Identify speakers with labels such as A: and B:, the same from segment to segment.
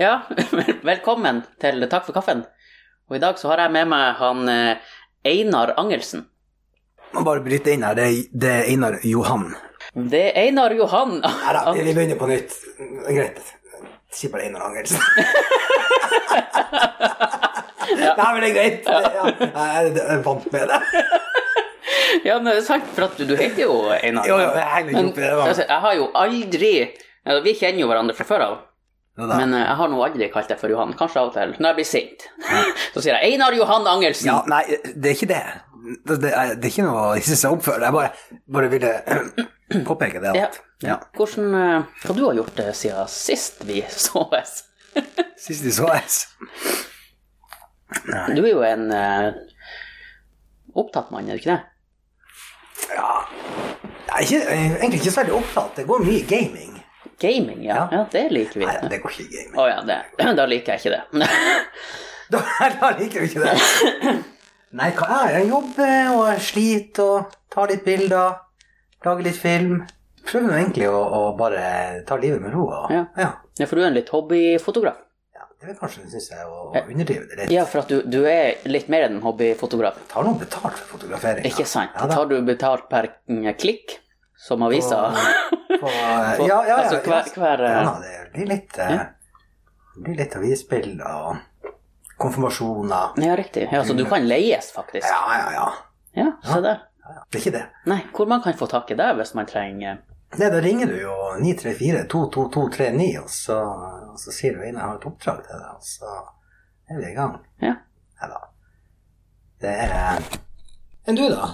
A: Ja, velkommen til Takk for kaffen. Og i dag så har jeg med meg han eh, Einar Angelsen.
B: Man bare bryter inn her. Det er, det er Einar Johan.
A: Det er Einar Johan.
B: Nei da, vi
A: Angelsen.
B: vi begynner på nytt. Greit. Si bare Einar Angelsen. Nei, men det er greit. Det- Ja. Nei, Jeg jeg vant med det.
A: Ja, men det er sant, for at du, du heter jo Einar.
B: Jo, jo, jeg henger ikke
A: Men,
B: opp i det. da.
A: altså, jeg har jo aldri altså, Vi kjenner jo hverandre fra før av,
B: Jo da.
A: men eh, jeg har nå aldri kalt deg for Johan. Kanskje av og til når jeg blir sint. Så sier jeg Einar Johan Angelsen.
B: Ja, nei, det er ikke det. Det, det, er, det er ikke noe å hisse seg opp for. Jeg bare, bare ville påpeke det.
A: Ja.
B: At, ja.
A: Hvordan, eh, hva du har gjort eh, siden sist vi såes?
B: Sist de såes.
A: Du er jo en eh, opptatt mann, er du ikke det?
B: Ja. Jeg er ikke, jeg er egentlig ikke så veldig opptatt. Det går mye gaming.
A: Gaming, ja.
B: Ja.
A: ja. det liker vi.
B: Nei,
A: Å
B: det går ikke gaming.
A: ja, det. da liker jeg ikke det.
B: Da, da liker du ikke det. Nei, hva er det? Jeg jobber og jeg sliter og tar litt bilder. Lager litt film. Prøver nå egentlig å, å bare ta livet med ro. Og,
A: Ja.
B: ja.
A: Ja, for du er en litt hobbyfotograf.
B: ja. Det vil kanskje, synes jeg, å å underdrive det litt.
A: Ja, for at du, du er litt mer enn en hobbyfotograf.
B: Tar noen betalt for fotografering? da.
A: Ikke sant?
B: Ja, da.
A: Tar du betalt per mm, klikk, som avisa?
B: På, ja, eh, ja, ja.
A: altså, hver-
B: ja.
A: hver, eh,
B: ja, da, det blir litt, eh, det blir litt avisbilder og konfirmasjoner.
A: Ja, riktig. Ja, så du kan leies, faktisk.
B: Mm. Ja, ja, ja.
A: Ja, se der.
B: Det er ikke det.
A: Nei, hvor man kan få tak i deg hvis man trenger
B: Nei, da ringer du jo 934-22239, og så, og så sier du inn jeg har et oppdrag til deg, og så er vi i gang.
A: Ja.
B: Nei da. Det er eh, Enn du, da?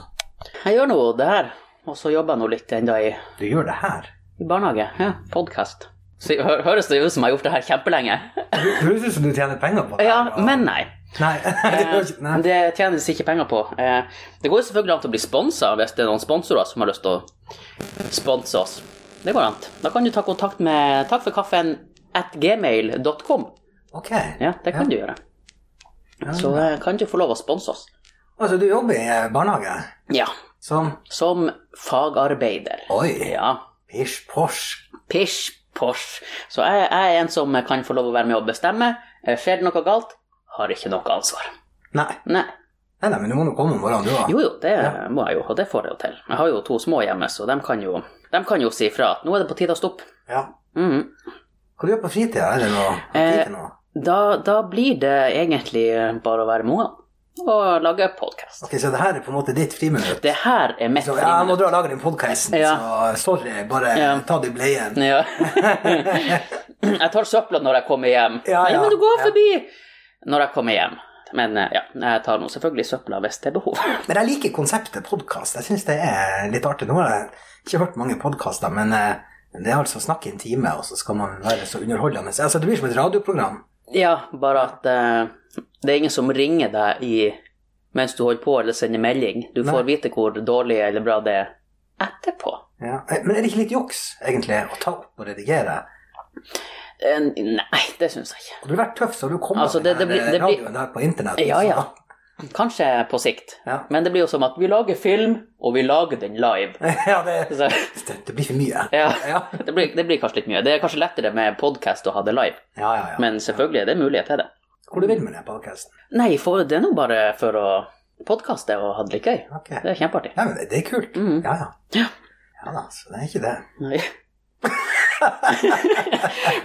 A: Jeg gjør nå det her, og så jobber jeg nå litt enda i,
B: Du gjør det her.
A: i barnehage. Ja, podkast. Så hø- høres det ut som jeg har gjort det her kjempelenge.
B: Du det høres ut som du tjener penger på det.
A: Ja,
B: og-
A: men nei.
B: Nei, det gjør ikke nei.
A: Eh, Men Det tjenes ikke penger på. Eh, Det går jo selvfølgelig an til å bli sponsa hvis det er noen sponsorer som har lyst til å sponse oss. Det går an. Da kan du ta kontakt med takkforkaffen at gmail.com.
B: Ok.
A: Ja, det kan du gjøre. Så eh, kan du få lov å sponse oss.
B: Altså, du jobber i eh, barnehage
A: Ja.
B: som
A: Som fagarbeider.
B: Oi!
A: Ja.
B: Pish posh.
A: Pish, posh. Så jeg, jeg er en som kan få lov å være med og bestemme. Eh, Skjer det noe galt, har ikke noe ansvar.
B: Nei.
A: Nei.
B: nei, nei, men du må nå komme om morgenen, du òg.
A: Jo, jo, det må jeg jo, og det får jeg jo til. Jeg har jo to små hjemme, så de kan jo, de kan jo si fra at nå er det på tide å stoppe.
B: Ja.
A: Mhm.
B: Hva du gjør du på fritida? Er det noe?
A: Eh,
B: Tid til noe?
A: Da, da blir det egentlig bare å være med ungene og lage podkast.
B: Ok, så det her er på en måte ditt friminutt?
A: Det her er mitt
B: Så, ja, jeg må
A: friminutt.
B: dra og lage den podkasten,
A: Ja.
B: så eh, sorry, bare
A: Ja.
B: ta det i bleien.
A: Ja. jeg tar søpla når jeg kommer hjem.
B: Ja, ja,
A: Nei, men du går
B: ja.
A: forbi når jeg kommer hjem. Men eh, ja, jeg tar nå selvfølgelig søpla hvis det er behov.
B: Men jeg liker konseptet podkast. Jeg syns det er litt artig. Nå har jeg ikke hørt mange podkaster, men eh, det er altså snakk i en time, og så skal man være så underholdende. Altså, det blir som et radioprogram.
A: Ja, bare at eh, det er ingen som ringer deg i, mens du holder på eller sender melding. Du får vite hvor dårlig eller bra det er etterpå.
B: Ja. Eh, Men er det ikke litt juks, egentlig, å ta opp og redigere?
A: Eh, Nei, det syns jeg ikke.
B: Hadde du vært tøff, så hadde du kommet
A: Altså,
B: med
A: det- det
B: den
A: blir-
B: her, eh,
A: det blir-
B: radioen der på internett.
A: Ja,
B: så-
A: ja. Kanskje på sikt.
B: Ja.
A: Men det blir jo som at vi lager film, og vi lager den live.
B: ja det,
A: Så,
B: det, det blir for mye.
A: ja,
B: Ja,
A: det blir, det blir kanskje litt mye. Det er kanskje lettere med podkast å ha det live,
B: ja, ja. ja.
A: men selvfølgelig er det mulighet til det.
B: Hvor du vil med den podkasten?
A: Nei, for det er nå bare for å podkaste og ha det litt gøy.
B: Ok.
A: Det er kjempeartig.
B: Ja, men det, det er kult.
A: Mhm.
B: Ja, ja.
A: Ja.
B: Ja da, så det er ikke det.
A: Nei.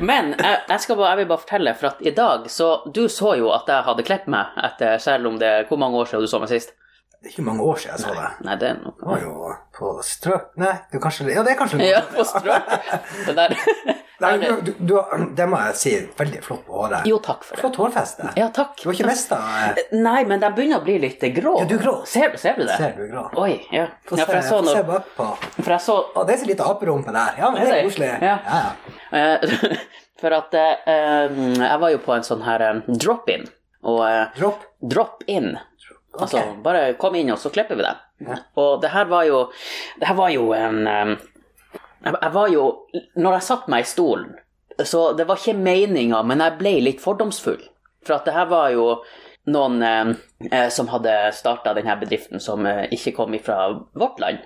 A: Men jeg, jeg, skal bare, jeg vil bare fortelle, for at i dag så Du så jo at jeg hadde klippet meg, etter, selv om det Hvor mange år siden du så meg sist?
B: Det er ikke mange år siden jeg så det.
A: Nei, det er
B: Det
A: noe
B: var jo på strøk Nei, du kanskje Ja, det er kanskje
A: Ja, på strøk. Det der
B: Nei, du, du, du, har- Det må jeg si. Veldig flott på håret.
A: Jo, takk for det.
B: Flott hårfeste.
A: Ja, takk.
B: Du har ikke mista eh,
A: Nei, men de begynner å bli litt grå.
B: Ja, du er grå.
A: Ser, ser du det?
B: Ser du er grå?
A: Oi, ja.
B: Få
A: ja
B: se,
A: for jeg så
B: få se
A: noe
B: bakpå.
A: For jeg så
B: Å, det er så lite aperumpe der. Ja, men det
A: Det
B: er
A: er det.
B: koselig.
A: Ja.
B: ja.
A: eh, For at eh, jeg var jo på en sånn her eh, drop-in. Og eh,
B: Dropp.
A: drop-in.
B: Ok.
A: Altså, bare kom inn, og så klipper vi deg.
B: Ja.
A: Og det her var jo Det her var jo en eh, Jeg jeg var jo Når jeg satte meg i stolen, så det var ikke meninga, men jeg ble litt fordomsfull. For at det her var jo noen eh, eh, som hadde starta denne bedriften, som eh, ikke kom ifra vårt land.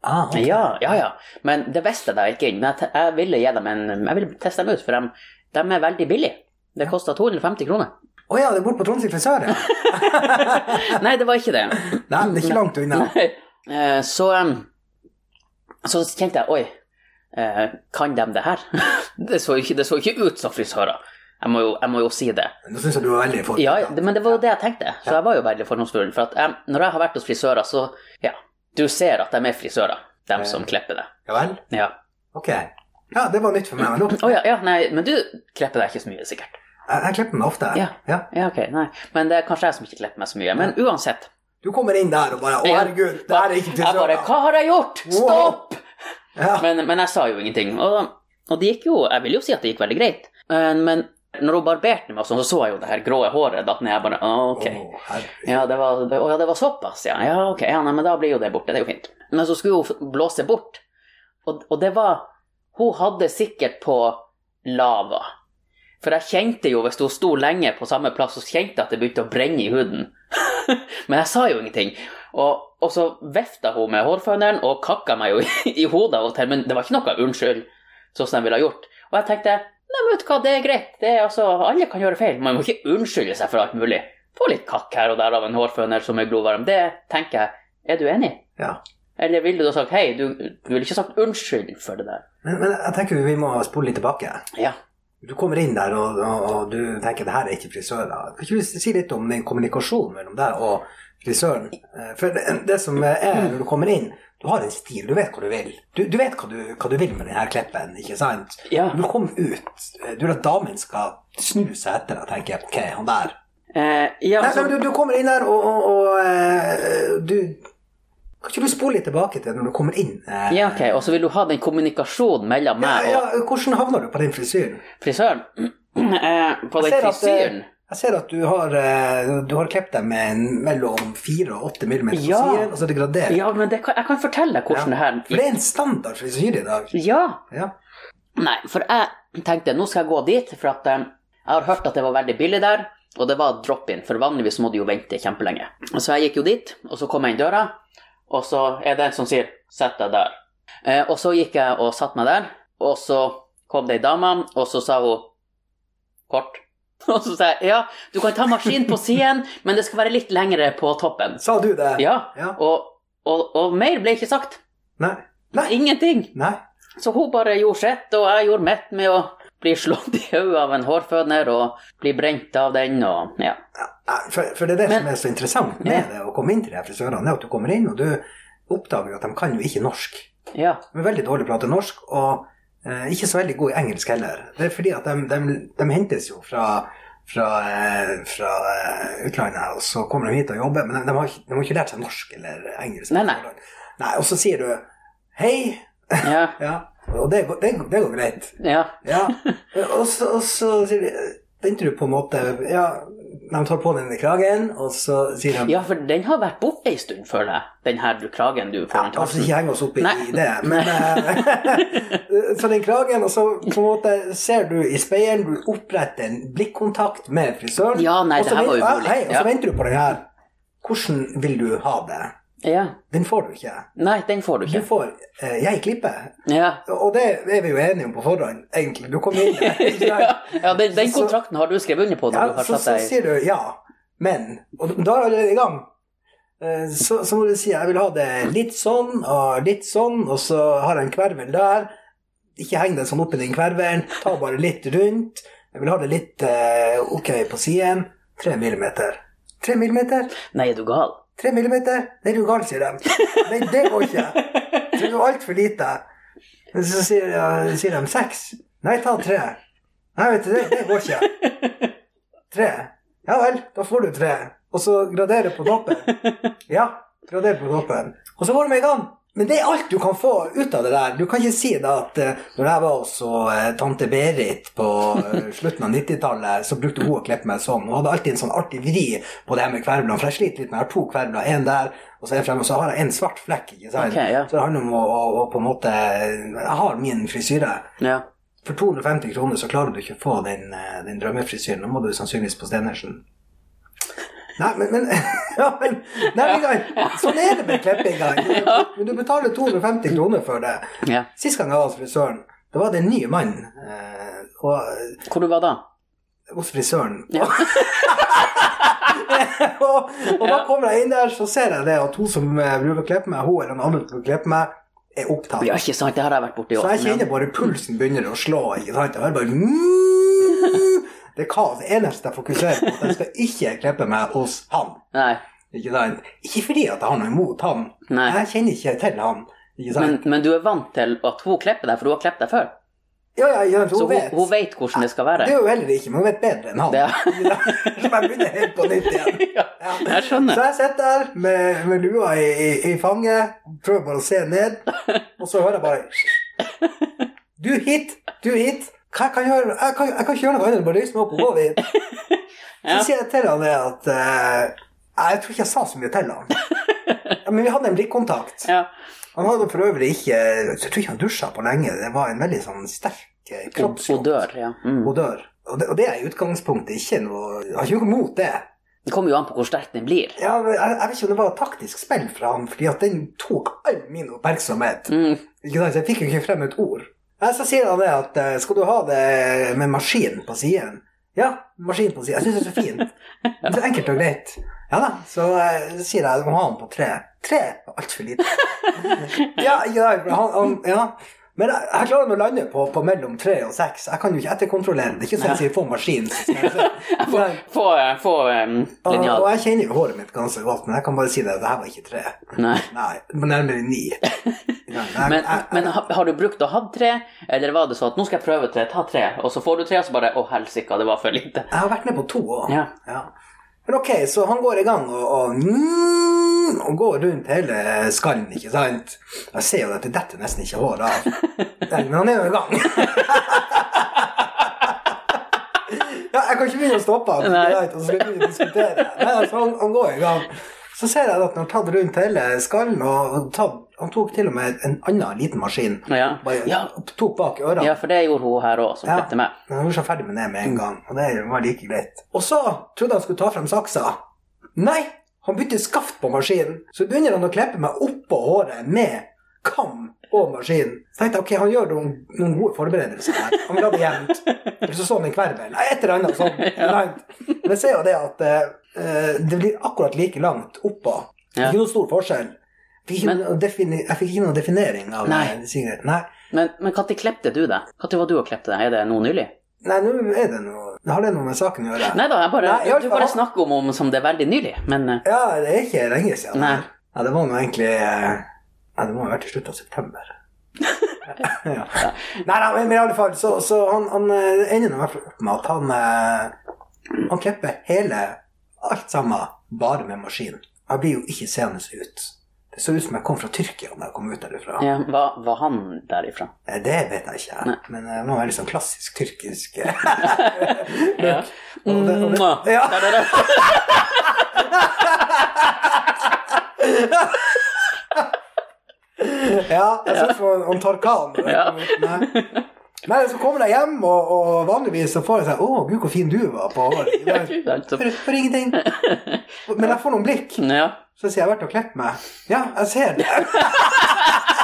B: Ah, ok.
A: Ja, ja, ja. Men det visste jeg da ikke inn. Men jeg, te- jeg ville gi dem en Jeg ville teste dem ut, for de, de er veldig billige. Det kosta 250 kroner.
B: Å ja, det er bort på Tromsø frisør, ja.
A: Nei, det var ikke det.
B: Nei, det er ikke langt unna.
A: Nei. Eh, Så, em, så kjente jeg Oi, eh, kan de det her? Det så ikke, det så ikke ut som frisører. Jeg må, jo, jeg må jo si det.
B: Nå syns jeg du var veldig for
A: Ja, det- men det var jo det jeg tenkte. Så jeg var jo veldig fordomsfull. For at jeg, når jeg har vært hos frisører, så Ja, du ser at de er frisører, de som klipper det.
B: Ja vel?
A: Ja.
B: Ok. Ja, det var nytt for meg. Men nå,
A: Å ja, ja, nei, men du klipper deg ikke så mye, sikkert.
B: jeg, jeg klipper meg ofte.
A: Ja. Ja, ok, nei. Men det er kanskje jeg som ikke klipper meg så mye. Men uansett.
B: Du kommer inn der og bare Å,
A: Ja.
B: herregud, det her er ikke
A: Jeg bare
B: frisør.
A: Hva har jeg gjort?
B: Wow.
A: Stopp!
B: Ja.
A: Men, men jeg sa jo ingenting. Og, og det gikk jo Jeg vil jo si at det gikk veldig greit. Eh, Men når hun barberte meg, og sånn, så så jeg jo det her grå håret datt ned. Jeg bare Å, ok.
B: Å, herregud.
A: Ja, det var, det, å, ja, det var såpass, ja. Ja, ok. Ja, nei, men da blir jo det borte. Det er jo fint. Men så skulle hun f- blåse bort, og, og det var Hun hadde sikkert på lava. For jeg kjente jo, hvis hun sto lenge på samme plass, så kjente jeg at det begynte å brenne i huden. men jeg sa jo ingenting. Og, og så vefta hun med hårføneren og kakka meg jo i, i hodet av og til, men det var ikke noe unnskyld, sånn som jeg ville ha gjort. Og jeg tenkte nei, men vet du hva, det er greit. Det er, altså, alle kan gjøre feil. Man må ikke unnskylde seg for alt mulig. Få litt kakk her og der av en hårføner som er glovarm. Det tenker jeg. Er du enig?
B: ja.
A: Eller ville du da sagt hei, du, du ville ikke sagt unnskyld for det der?
B: Men, men jeg tenker vi må spole litt tilbake.
A: Ja.
B: Du kommer inn der, og, og, og du tenker det her er ikke frisører. Kan ikke du si litt om den kommunikasjonen mellom deg og frisøren? Eh, For det, det som er når du kommer inn, du har en stil, du vet hva du vil. Du, du vet hva du, hva du vil med denne klippen, ikke sant?
A: ja.
B: Du kommer ut, eh, du vil at damen skal snu seg etter deg, tenker jeg. Ok, han der.
A: Eh, ja,
B: Nei,
A: så-
B: men du, du kommer inn der, og, og, og eh, du Kan ikke du spole litt tilbake til når du kommer inn? eh,
A: Ja, ok, og så vil du ha den kommunikasjonen mellom
B: ja,
A: meg
B: ja,
A: og
B: hvordan havner du på den frisyren?
A: frisøren? Eh, På den
B: Jeg ser at,
A: frisyren?
B: eh, Jeg ser at du har, eh, du har klippet deg med en mellom 4 og 8 millimeter på
A: Ja.
B: siden, og så er det gradert.
A: Ja, men det kan, jeg kan fortelle deg hvordan
B: For
A: det
B: eh, det er en standard frisyre i dag.
A: her Ja!
B: Ja.
A: Nei, for jeg tenkte nå skal jeg gå dit, for at eh, jeg har hørt at det var veldig billig der, og det var drop-in, for vanligvis må du jo vente kjempelenge. Så jeg gikk jo dit, og så kom jeg inn døra, og så er det en som sier 'sett deg der'. Eh, og så gikk jeg og satte meg der, og så kom det ei dame, og så sa hun 'kort'. Og så sa jeg 'ja, du kan ta maskinen på siden, men det skal være litt lengre på toppen'.
B: Sa du det?
A: Ja,
B: Ja.
A: og, og, og mer ble ikke sagt.
B: Nei. Nei.
A: Ingenting.
B: Nei.
A: Så hun bare gjorde sitt, og jeg gjorde mitt med å bli slått i hodet av en hårføner og bli brent av den, og ja.
B: Nei, For, for det er det
A: Men-
B: som er så interessant med
A: Ja.
B: det å komme inn til de her frisørene, er at du kommer inn, og du oppdager jo at de kan jo ikke norsk.
A: Ja,
B: De er veldig dårlig til å prate norsk, og eh, ikke så veldig god i engelsk heller. Det er fordi at de, de, de hentes jo fra, fra, eh, fra eh, utlandet, og så kommer de hit og jobber, men de, de, har, ikke, de har ikke lært seg norsk eller engelsk.
A: Nei, nei.
B: Nei, og så sier du hei,
A: ja,
B: ja, og det, går- det, det går greit.
A: ja.
B: Ja. Og så, og så sier de Venter du på en måte Ja, de tar på den i kragen, og så sier de
A: Ja, for den har vært borte ei stund, føler jeg. Den her du- kragen du får
B: Ja,
A: den
B: altså
A: tassen.
B: ikke henge oss opp i
A: Nei.
B: i det, men eh, Så den kragen, og så på en måte ser du i speilet, du oppretter en blikkontakt med frisøren,
A: Ja, nei,
B: og
A: det
B: så
A: her var
B: vent-
A: umulig.
B: ja, hei, og så
A: Ja.
B: venter du på den her. Hvordan vil du ha det?
A: Ja.
B: Den får du ikke.
A: Nei, den får du
B: Du
A: ikke.
B: får eh, Jeg klipper.
A: Ja.
B: Og det er vi jo enige om på forhånd, egentlig. Du kommer inn der. ikke sant?
A: Ja, den, den
B: Så-
A: kontrakten har du skrevet under på når
B: Ja,
A: du har
B: så, så
A: satt deg
B: sier du ja, men Og da er du allerede i gang. Eh, Så, så må du si jeg vil ha det litt sånn og litt sånn, og så har jeg en kvervel der. Ikke heng deg sånn opp i den kvervelen, ta bare litt rundt. Jeg vil ha det litt eh, ok på siden. Tre millimeter. Tre millimeter?
A: Nei, er du gal?
B: Tre millimeter? Nei, du er gal, sier de. Nei, det går ikke. Det er jo altfor lite. Men Så sier, jeg- sier de seks. Nei, ta tre. Nei, vet du, det, det går ikke. Tre. Ja vel, da får du tre. Og så gradere på toppen. Ja, gradere på toppen. Og så går du med i gang. Men det er alt du kan få ut av det der. Du kan ikke si da at eh, når jeg var hos eh, tante Berit på eh, slutten av 90-tallet, så brukte hun å klippe meg sånn. Hun hadde alltid en sånn artig vri på det her med kverblene. For jeg sliter litt med jeg har to kverbler, en der og så en fremme, og så har jeg en svart flekk. ikke sant?
A: Ok, ja.
B: Så det handler om å, å, å på en måte Jeg har min frisyre.
A: Ja.
B: For 250 kroner så klarer du ikke å få den, eh, den drømmefrisyren. Nå må du sannsynligvis på Stenersen. Nei, men, men, ja, men nei, men, Ivar, Sånn er det med klippinga. Men du betaler 250 kroner for det.
A: ja.
B: Sist gang jeg var hos frisøren, da var det en ny mann. eh, Og
A: Hvor du var da?
B: hos frisøren.
A: Ja.
B: og, og da kommer jeg inn der, så ser jeg det at hun som eh, bruker å klippe meg, hun eller noen andre som bruker å klippe meg, er opptatt.
A: Ja, ikke sant, det har jeg vært borti
B: Så
A: òg.
B: jeg kjenner bare pulsen begynner å slå, ikke sant? Og jeg bare mm, Det er kaos. Det eneste jeg fokuserer på, er at jeg skal ikke klippe meg hos han.
A: Nei,
B: Ikke sant? Ikke fordi at jeg har noe imot han.
A: nei.
B: Jeg kjenner ikke til han. Ikke sant?
A: Men, men du er vant til at hun klipper deg, for hun har klippet deg før.
B: ja, ja, ja, så
A: Så hun,
B: hun vet.
A: hun vet hvordan det skal være.
B: Det er jo heller ikke, men hun vet bedre enn han.
A: Ja.
B: Ikke sant? Så jeg begynner helt på nytt igjen.
A: Ja,
B: Ja.
A: jeg skjønner.
B: Så jeg sitter der med, med lua i, i, i fanget, prøver bare å se ned, og så hører jeg bare Du hit, du hit. Hva jeg kan gjøre? Jeg kan, jeg kan ikke gjøre noe annet enn å bare reise meg opp og gå dit. Så
A: Ja.
B: sier jeg til han det at eh, Jeg tror ikke jeg sa så mye til han. Ja, men vi hadde en blikkontakt.
A: Ja.
B: Han hadde for øvrig ikke Jeg tror ikke han dusja på lenge. Det var en veldig sånn sterk eh,
A: Hun, hun
B: kroppslukt.
A: dør, ja. Mm.
B: Odør. Og det, og det er i utgangspunktet ikke noe Jeg har ikke noe mot det.
A: Det kommer jo an på hvor sterk den blir.
B: Ja, men jeg, jeg vet ikke om det var et taktisk spill fra han, fordi at den tok all min oppmerksomhet.
A: Mm.
B: Ikke sant? Så Jeg fikk jo ikke frem et ord. Nei, så sier han det at eh, skal du ha det med maskin på siden? Ja, maskin på siden. Jeg syns det er så fint. Det er så enkelt og greit. Ja da. Så eh, sier jeg du må ha den på tre. Tre er altfor lite. Ja, ja, han, han, ja. Men jeg, jeg klarer nå å lande på, på mellom tre og seks. Jeg kan jo ikke etterkontrollere. Det er ikke sånn at jeg sier på maskin. så skal jeg se. Nei.
A: Få, eh, få um,
B: Og, og
A: linjal.
B: jeg kjenner jo håret mitt ganske godt, men jeg kan bare si det, det her var ikke tre.
A: Nei.
B: Nei, men nærmere ni. Ja, jeg-
A: Men,
B: jeg-
A: men ha- har du brukt og hatt tre, eller var det sånn at nå skal jeg prøve tre, ta tre, og så får du tre, og så bare å helsike, det var for lite.
B: jeg har vært med på to òg.
A: Ja.
B: Men ok, så han går i gang og, og, mm, og går rundt hele skallen, ikke sant? Jeg ser jo at det detter nesten ikke hår av. Nei, Men han er jo i gang. ja, jeg kan ikke begynne å stoppe han.
A: Nei.
B: ikke sant? Og så skal vi begynne å diskutere. Nei, altså, han, han går i gang. Så ser jeg at han har tatt rundt hele skallen, og tatt, han tok til og med en annen liten maskin.
A: Ja.
B: Bare
A: Ja.
B: tok bak ørene.
A: Ja, for det gjorde hun her òg, som
B: Ja.
A: klippet meg.
B: Men han gjorde seg ferdig med det med
A: Mm.
B: en gang, og det var like greit. Og så trodde han skulle ta frem saksa. Nei, han bytter skaft på maskinen. Så begynner han å klippe meg oppå håret med kam og maskin. Så tenkte jeg ok, han gjør noen, noen gode forberedelser her. Han vil ha det jevnt. Eller så så han en kvervel. Nei, Et eller annet sånt. Men jeg ser jo det at eh, det blir akkurat like langt oppå.
A: Ja.
B: Ikke noe stor forskjell. Jeg fikk ikke,
A: Men-
B: noe, defini jeg fikk ikke noe definering av
A: Nei.
B: eh, Sigrid. Nei.
A: Men, men når klippte du deg? Når var du og klippte deg? Er det nå nylig?
B: Nei, nå er det noe Har det noe med saken å gjøre?
A: Nei da, jeg bare,
B: Nei, jeg har
A: du
B: ikke-
A: bare snakker om, om som det er veldig nylig, men eh,
B: Ja, det er ikke lenge siden.
A: Nei.
B: Ja, det var nå egentlig eh, Ja, det må ha vært i slutten av september. ja. Nei, nei, men i alle fall, så, så han, han eh, ender nå i hvert fall opp med at han eh, Han klipper hele alt sammen bare med maskin. Jeg blir jo ikke seende ut. Det så ut som jeg kom fra Tyrkia da jeg kom ut derifra.
A: ja, var, var han derifra?
B: Eh, Det vet jeg ikke,
A: Nei.
B: men eh, det var veldig sånn klassisk tyrkisk eh,
A: Ja.
B: Og det- og det-
A: Mwah.
B: Ja.
A: Der, der, der.
B: Ja, jeg synes det var en Tarkan.
A: Ja.
B: Nei. Nei, så kommer jeg hjem, og, og vanligvis så får jeg sånn Å, gud, hvor fin du var på håret.
A: Ja,
B: For,
A: gud, altså.
B: for ingenting. Men jeg får noen blikk.
A: Ja.
B: Så sier jeg, jeg har vært og klippet meg. Ja, jeg ser det.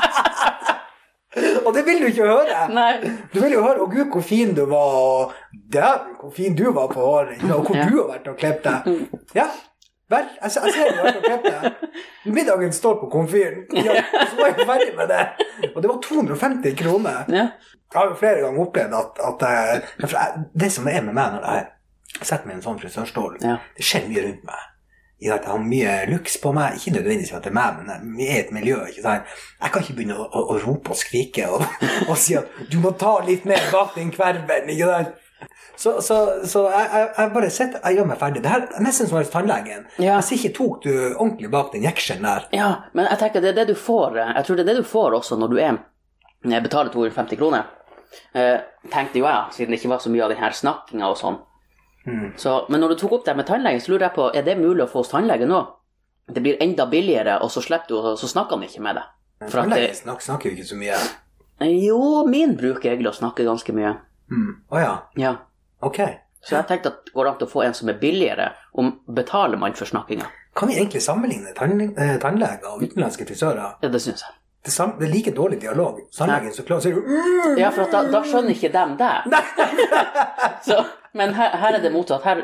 B: og det vil du ikke høre.
A: Nei.
B: Du vil jo høre 'Å, gud, hvor fin du var', og 'Dæven, hvor fin du var på håret', ikke sant, og 'hvor
A: Ja.
B: du har vært og klippet deg'. Ja, vel, jeg, ser- jeg ser du har vært og klippet deg. Middagen står på komfyren. Ja, og så var jeg ferdig med det. Og det var 250 kroner.
A: Ja.
B: Jeg har jo flere ganger opplevd at, at jeg, men for jeg, Det som er med meg når jeg setter meg i en sånn frisørstol,
A: Ja.
B: det skjer mye rundt meg. I at Jeg har mye luks på meg. Ikke nødvendigvis at det er meg, men vi er et miljø. ikke sant? Jeg kan ikke begynne å, å, å rope og skrike og, og si at 'du må ta litt mer bak den kverven'. ikke sant? Så, så, så jeg, jeg, jeg bare sitter Jeg gjør meg ferdig. Det her er nesten som hos tannlegen.
A: Ja.
B: Jeg sier ikke 'tok du ordentlig bak den jekselen der'?
A: ja, men jeg tenker det er det du får eh, Jeg tror det er det du får også når du er når jeg betaler 250 kroner. Eh, tenkte jo jeg, siden det ikke var så mye av den her snakkinga og sånn.
B: Mm.
A: Så, men når du tok opp det med tannlegen, så lurer jeg på er det mulig å få hos tannlegen nå? Det blir enda billigere, og så slipper du, og så snakker han ikke med deg. For at det,
B: Tannlegen snakker, snakker jo ikke så mye.
A: jo, min bruker egentlig å snakke ganske mye.
B: Å mm. Å ja.
A: Ja.
B: Ok.
A: Så jeg tenkte at går det an å få en som er billigere, om betaler man for snakkinga?
B: Kan vi egentlig sammenligne tann- eh, tannleger og utenlandske frisører?
A: Ja, det syns jeg.
B: Det, sam det er like dårlig dialog. Tannlegen så klarer å si "Mm,
A: Ja, for at da, da skjønner ikke dem det. Så, men her, her er det motsatt. Her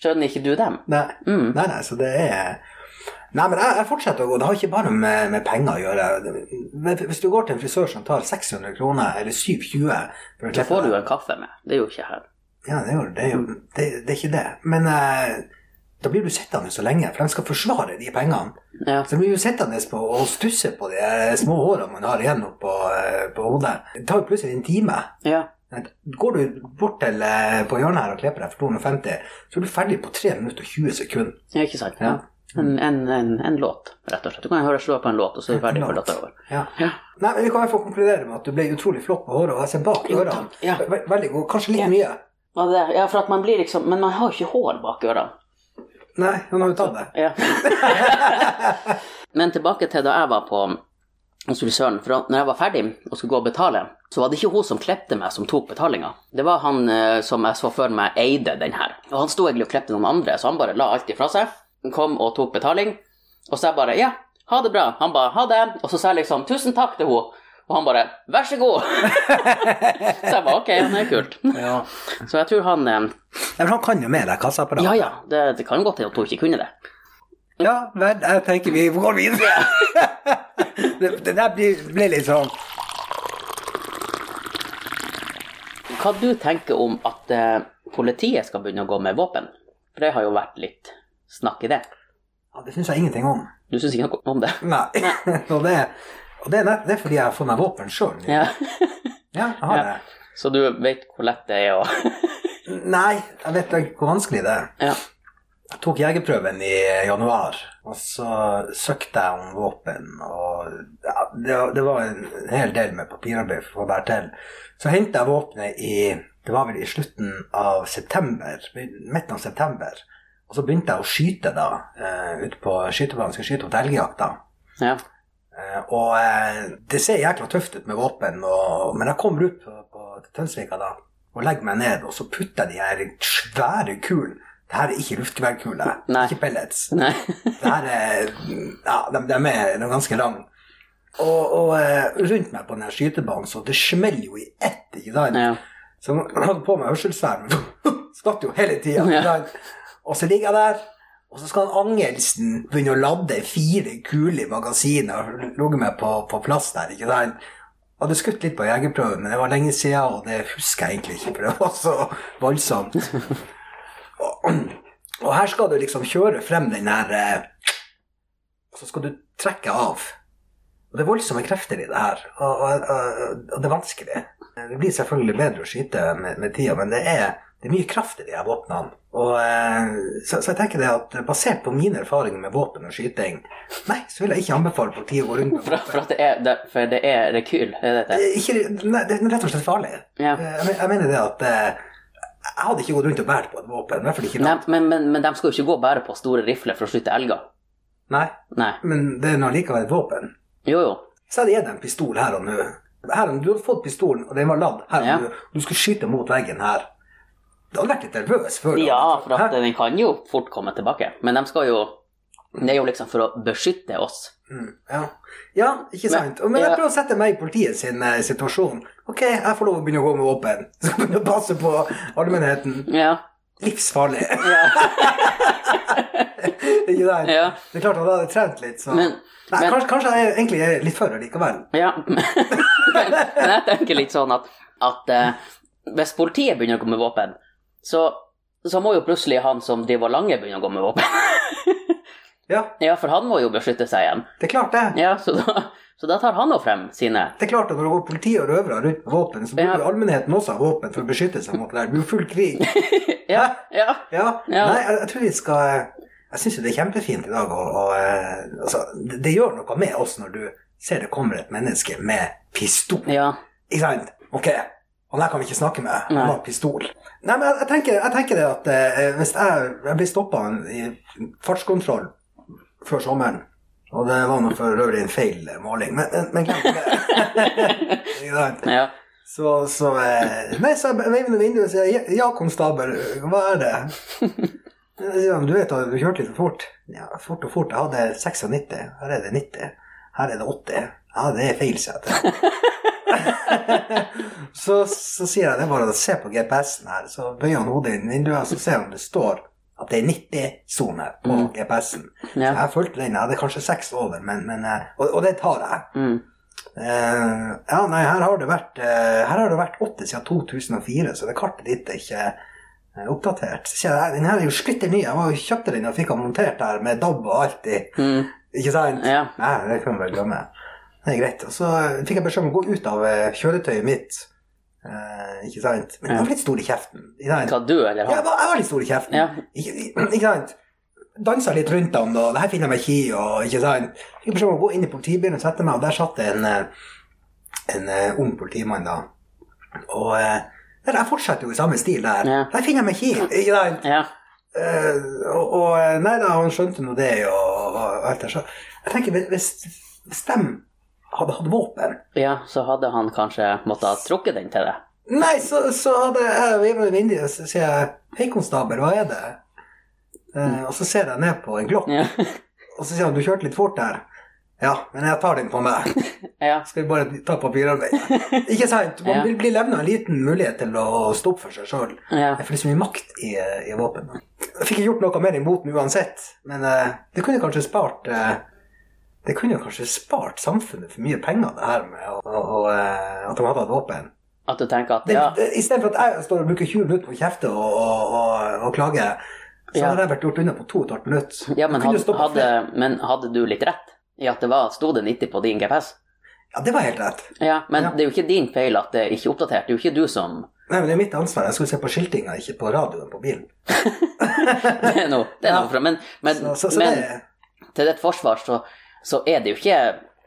A: skjønner ikke du dem.
B: Nei.
A: Mm.
B: Nei, nei, så det er Nei, men jeg, jeg fortsetter å gå. Det har ikke bare med, med penger å gjøre. Det- men Hvis du går til en frisør som tar 600 kroner, eller 720
A: Det Mm. får
B: for å klippe
A: du jo
B: deg-
A: en kaffe med. Det er jo ikke her.
B: Ja, det er jo, det er, jo det, det er ikke det. Men eh, da blir du sittende så lenge, for de skal forsvare de pengene.
A: Ja.
B: Så blir du sittende på og stusse på de eh, små hårene man har igjen oppå eh, på hodet. Det tar jo plutselig en time.
A: ja.
B: Går du bort til eh, på hjørnet her og klipper deg for 250, så er du ferdig på 3 minutter og 20 sekunder.
A: Ja, ikke sant?
B: Ja.
A: Ja. En, en, en, en låt, rett og slett. Du kan høre slå på en låt, og så er du ferdig
B: En
A: før
B: låt.
A: dette er over.
B: Ja.
A: Ja.
B: Nei, men Vi kan i hvert fall konkludere med at du ble utrolig flott på håret, og jeg ser bak
A: Jo,
B: ørene.
A: takk. Ja.
B: Ve- Veldig god. Kanskje litt
A: Ja.
B: mye.
A: Ja, det er, ja, for at man blir liksom Men man har jo ikke hår bak ørene.
B: Nei, han har jo tatt det.
A: Ja. men tilbake til da jeg var på hos frisøren, for da- når jeg var ferdig og skulle gå og betale, så var det ikke hun som klepte meg som tok betalinga. Det var han eh, som jeg så for meg eide den her. Og han sto egentlig og klepte noen andre, så han bare la alt ifra seg. Han kom og tok betaling, og så jeg bare ja, ha det bra. Han bare ha det, og så sa jeg liksom tusen takk til henne. Og han bare vær så god. så jeg bare ok, det er kult.
B: Ja.
A: Så jeg tror han eh,
B: Men han kan jo med deg kassaapparatet.
A: Ja ja, det, det kan godt hende at hun ikke kunne det.
B: Ja, vel, jeg tenker vi går videre. det, det der blir, blir litt sånn
A: Hva du tenker om at eh, politiet skal begynne å gå med våpen? For det har jo vært litt snakk i det.
B: ja, Det syns jeg ingenting om.
A: Du syns ikke noe om det?
B: Nei. og det, og det, er nett- det er fordi jeg har fått meg våpen sjøl. Ja.
A: Ja.
B: jeg har
A: Ja.
B: det.
A: Så du vet hvor lett det er å
B: Nei, jeg vet ikke hvor vanskelig det er.
A: ja.
B: Jeg tok jegerprøven i januar, og så søkte jeg om våpen. Og ja, det, var- det var en hel del med papirarbeid for å få det her til. Så hentet jeg våpenet i det var vel i slutten av september, midten av september. Og så begynte jeg å skyte da, eh, ute på skytebanen. Skal skyte opp til elgjakt da.
A: ja.
B: Eh, Og eh, det ser jækla tøft ut med våpen, og, men jeg kommer ut på, på Tønsvika da, og legger meg ned, og så putter jeg de her svære kulene. Det her er ikke luftgeværkule,
A: Nei.
B: ikke pellets.
A: Nei.
B: Det her er, ja, de, de er de er ganske lange. Og, og eh, rundt meg på denne skytebanen, så det smeller jo i ett, ikke sant?
A: Ja.
B: Så jeg hadde på meg hørselsvern, men skvatt jo hele tida.
A: Ja.
B: Og så ligger jeg der, og så skal han Angelsen begynne å lade fire kuler i magasinet og ligge meg på, på plass der. ikke sant? Jeg hadde skutt litt på jegerprøven, men det var lenge siden, og det husker jeg egentlig ikke, for det var så voldsomt. Og, og her skal du liksom kjøre frem den her eh, Og så skal du trekke av. Og det er voldsomme krefter i det her, og, og, og, og det er vanskelig. Det blir selvfølgelig bedre å skyte med, med tida, men det er, det er mye kraft i de her våpnene. Og, eh, så, så jeg tenker det at basert på mine erfaringer med våpen og skyting, nei, så vil jeg ikke anbefale politiet å gå rundt med
A: For, for, at det er, det, for det er rekyl, er det det?
B: Eh, Ikke, nei, det er rett og slett farlig.
A: Ja.
B: Eh, Jeg, men- jeg mener det at eh, jeg hadde ikke gått rundt og båret på et våpen. I hvert fall ikke
A: Nei,
B: langt.
A: men, men, men de skal jo ikke gå bare på store rifler for å skyte elger.
B: Nei.
A: Nei.
B: Men det er nå likevel et våpen.
A: Jo, jo.
B: Så hadde jeg deg en pistol her og nå. Her, og nå- du hadde fått pistolen, og den var ladd. Her, og
A: Ja.
B: nå. Du skulle skyte mot veggen her. Du hadde vært litt nervøs før. du
A: Ja,
B: hadde-
A: for at
B: Hæ?
A: den kan jo fort komme tilbake. Men de skal jo Det er jo liksom for å beskytte oss.
B: Mm, ja. ja, ikke sant. Men,
A: ja.
B: jeg prøver å sette meg i politiet sin eh, situasjon. Ok, jeg får lov å begynne å gå med våpen. Så kan jeg begynne å passe på allmennheten.
A: Ja.
B: Livsfarlig.
A: ja.
B: ikke sant?
A: ja.
B: Det er klart han hadde trent litt, så
A: Men-
B: Nei,
A: men-
B: kanskje, kanskje jeg egentlig er litt for likevel.
A: Ja, men, men jeg tenker litt sånn at, at eh, hvis politiet begynner å gå med våpen, så, så må jo plutselig han som driver og lange begynne å gå med våpen.
B: Ja,
A: Ja, for han må jo beskytte seg igjen.
B: det er klart det.
A: Ja, så da, så da tar han jo frem sine.
B: Det er klart at Når det går politi og røvere rundt med våpen, så burde
A: Ja.
B: jo allmennheten også ha våpen for å beskytte seg mot det der. Det blir jo full krig.
A: Ja, ja.
B: Ja.
A: Ja.
B: Nei, jeg, jeg tror vi skal Jeg syns jo det er kjempefint i dag å å, eh, altså, det, det gjør noe med oss når du ser det kommer et menneske med pistol.
A: Ja,
B: Ikke sant? Ok, han her kan vi ikke snakke med. Han
A: Nei.
B: har pistol. Nei, men jeg, jeg, tenker, jeg tenker det at eh, hvis jeg, jeg blir stoppa i fartskontroll før sommeren Og det var nå for øvrig en feil eh, måling, men, men, men glem det. Ikke sant?
A: ja.
B: så, så eh, Nei, så jeg veiver med vinduet og sier «Ja, 'ja, konstabel, hva er det?' Jeg sier, «Ja, men du vet at du kjørte litt for fort. Ja, fort og fort. Jeg hadde 96. Her er det 90. Her er det 80. Ja, det er feil, sier jeg til ham. Så, så sier jeg det er bare å se på GPS-en her, så bøyer han hodet inn i vinduet, så ser han det står at det er 90-sone på
A: Mm.
B: GPS-en.
A: Ja.
B: Jeg fulgte den, jeg hadde kanskje seks over, men, men eh, og, og det tar jeg.
A: Mm.
B: Eh, ja, nei, her har det vært eh, Her har det vært 80 siden 2004, så det kartet ditt er ikke eh, oppdatert. Så sier jeg, den her er jo splitter ny, jeg var jo kjøpte den og fikk den montert der med DAB og alt i.
A: Mm.
B: Ikke sant?
A: Ja.
B: Nei, det kan vi vel glemme. Det er greit. Og så fikk jeg beskjed om å gå ut av eh, kjøretøyet mitt. Eh, ikke sant? Men jeg var litt stor i kjeften. Ikke sant?
A: Hva, du eller
B: Ja, jeg
A: han?
B: var, jeg var litt stor i kjeften.
A: Ja.
B: Ikke, ikke sant? Dansa litt rundt han, og det her finner jeg meg ikke i, og ikke sant? Fikk beskjed om å gå inn i politibilen og sette meg, og der satt det en, eh, en eh, ung politimann, da. Og eh, der, jeg fortsetter jo i samme stil der.
A: Ja.
B: Der finner jeg meg ikke i, ikke sant?
A: Ja.
B: Eh, og, og nei da, han skjønte nå det og, og alt det så Jeg tenker hvis- hvis, hvis de hadde hatt våpen
A: ja, så hadde han kanskje måttet ha trukket den til deg.
B: Nei, så, så hadde jeg vivlet i vinduet og så sier jeg Hei, konstabel, hva er det? Eh, og så ser jeg ned på en glokk,
A: Ja.
B: og så sier han du kjørte litt fort der. Ja, men jeg tar den på meg.
A: ja.
B: Skal vi bare ta papirarbeidet? Ikke sant? Man
A: Ja.
B: vil bli levna en liten mulighet til å stå opp for seg sjøl.
A: ja.
B: Jeg får liksom mye makt i, i våpen. Jeg fikk ikke gjort noe mer imot den uansett, men eh, det kunne kanskje spart eh, Det kunne kanskje spart samfunnet for mye penger, det her med å, å, å, eh, at de hadde hatt våpen.
A: At du tenker at
B: Det,
A: ja,
B: det, Istedenfor at jeg står og bruker 20 minutter på å kjefte og, og, og, og klage, så
A: Ja.
B: hadde jeg vært gjort unna på 2 12 minutter.
A: ja men,
B: Jeg kunne
A: hadde,
B: stoppet
A: hadde,
B: flere.
A: men hadde du litt rett i at det var, sto det 90 på din GPS?
B: Ja, det var helt rett.
A: Ja, men
B: Ja.
A: det er jo ikke din feil at det ikke er oppdatert. Det er jo ikke du som
B: Nei, men Det er mitt ansvar. Jeg skulle se på skiltinga, ikke på radioen på bilen.
A: Det er noe, det er
B: Ja.
A: noe fra Men, men,
B: Så, så, så
A: men
B: det,
A: til ditt forsvar så, så er det jo ikke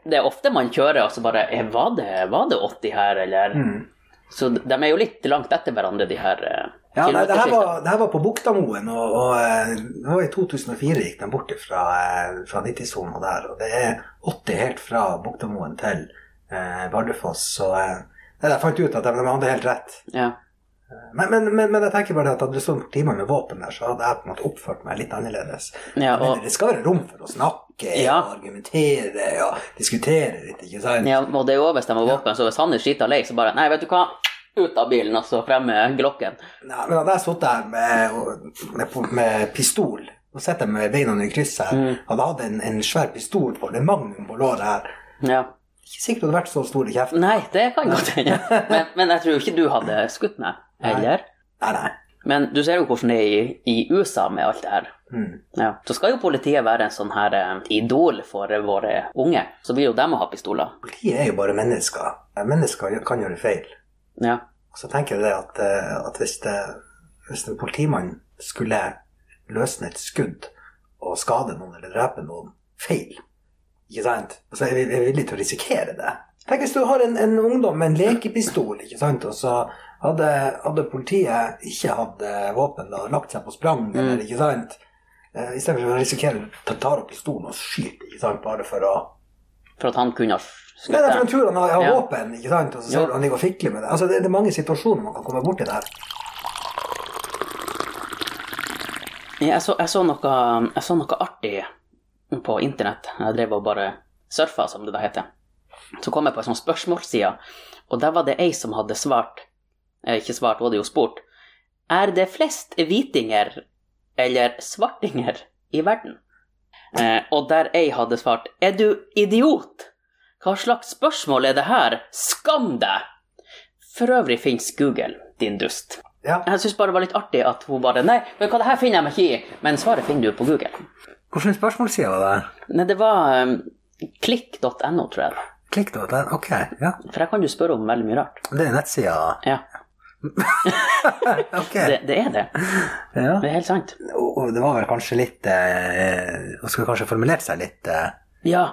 A: Det er ofte man kjører og så bare eh, var det, var det 80 her, eller?
B: mm.
A: Så de er jo litt langt etter hverandre, de her eh,
B: Ja, nei, det, her
A: kilometerskiftene.
B: var, det her var på Buktamoen, og, og eh, det var i 2004 gikk den bort fra, eh, fra 90-sona der. Og det er 80 helt fra Buktamoen til eh, Bardufoss, så eh, nei, jeg fant ut at de, de hadde helt rett.
A: Ja.
B: Men, men, men, men jeg tenker bare at hadde det stått timer med våpen der, så hadde jeg på en måte oppført meg litt annerledes.
A: Ja,
B: Men
A: og,
B: det skal være rom for å snakke,
A: Ja.
B: og argumentere og diskutere litt, ikke sant?
A: ja, og det er jo hvis de har våpen, så hvis han er skita lei, så bare Nei, vet du hva, ut av bilen, og så frem med glokken.
B: Nei, men hadde jeg sittet her med, og- med, med pistol og sett dem med beina under krysset her,
A: Mm.
B: hadde hatt en, en svær pistol på det, magnum på låret her
A: Ja.
B: Ikke sikkert du hadde vært så stor i kjeften.
A: Nei, det kan godt hende. Men, men jeg tror jo ikke du hadde skutt meg, eller?
B: Nei, nei.
A: Men du ser jo hvordan det er i, i USA med alt det her.
B: Mm.
A: Ja. Så skal jo politiet være en sånn her eh, idol for våre unge. Så vil jo dem å ha pistoler.
B: Politiet er jo bare mennesker. Mennesker gjør- kan gjøre feil.
A: Ja.
B: Og så tenker jeg det at, eh, at hvis, det, hvis en politimann skulle løsne et skudd og skade noen eller drepe noen feil, ikke sant? så er vi er vi villige til å risikere det. Tenk hvis du har en, en ungdom med en lekepistol, ikke sant? og så hadde, hadde politiet ikke hatt eh, våpen da, lagt seg på sprang,
A: Mm.
B: eller, ikke sant? Eh, I stedet for å risikere at han tar opp pistolen og skyter, ikke sant? bare for å
A: For at han kunne ha
B: Nei,
A: skutt
B: det er for
A: deg.
B: en tur han har, har
A: Ja.
B: våpen, ikke sant? Og så ser
A: Jo.
B: du han ligger og fikler med det. Altså, det, det er mange situasjoner man kan komme borti der.
A: Ja, Jeg, så- jeg, så noe- jeg så noe artig på internett. Jeg drev og bare surfa, som det da heter. Så kom jeg på en sånn spørsmålsside, og der var det ei som hadde svart eh, Ikke svart, hun hadde jo spurt. Er det flest hvitinger eller svartinger i verden? Eh, og der ei hadde svart Er du idiot? Hva slags spørsmål er det her? Skam deg! For øvrig fins Google, din dust.
B: Ja.
A: Jeg syns bare det var litt artig at hun bare Nei, vet du hva, det her finner jeg meg ikke i. Men svaret finner du på Google.
B: Hvilken spørsmålsside var det?
A: Nei, det var um, klikk.no, tror jeg.
B: Klikk da. Der. Ok, ja.
A: For her kan du spørre om veldig mye rart.
B: Det er nettsida.
A: Ja,
B: Ok.
A: det, det er det.
B: Ja.
A: Det er helt sant.
B: Og, og det var vel kanskje litt eh, Hun skulle kanskje formulert seg litt eh.
A: Ja.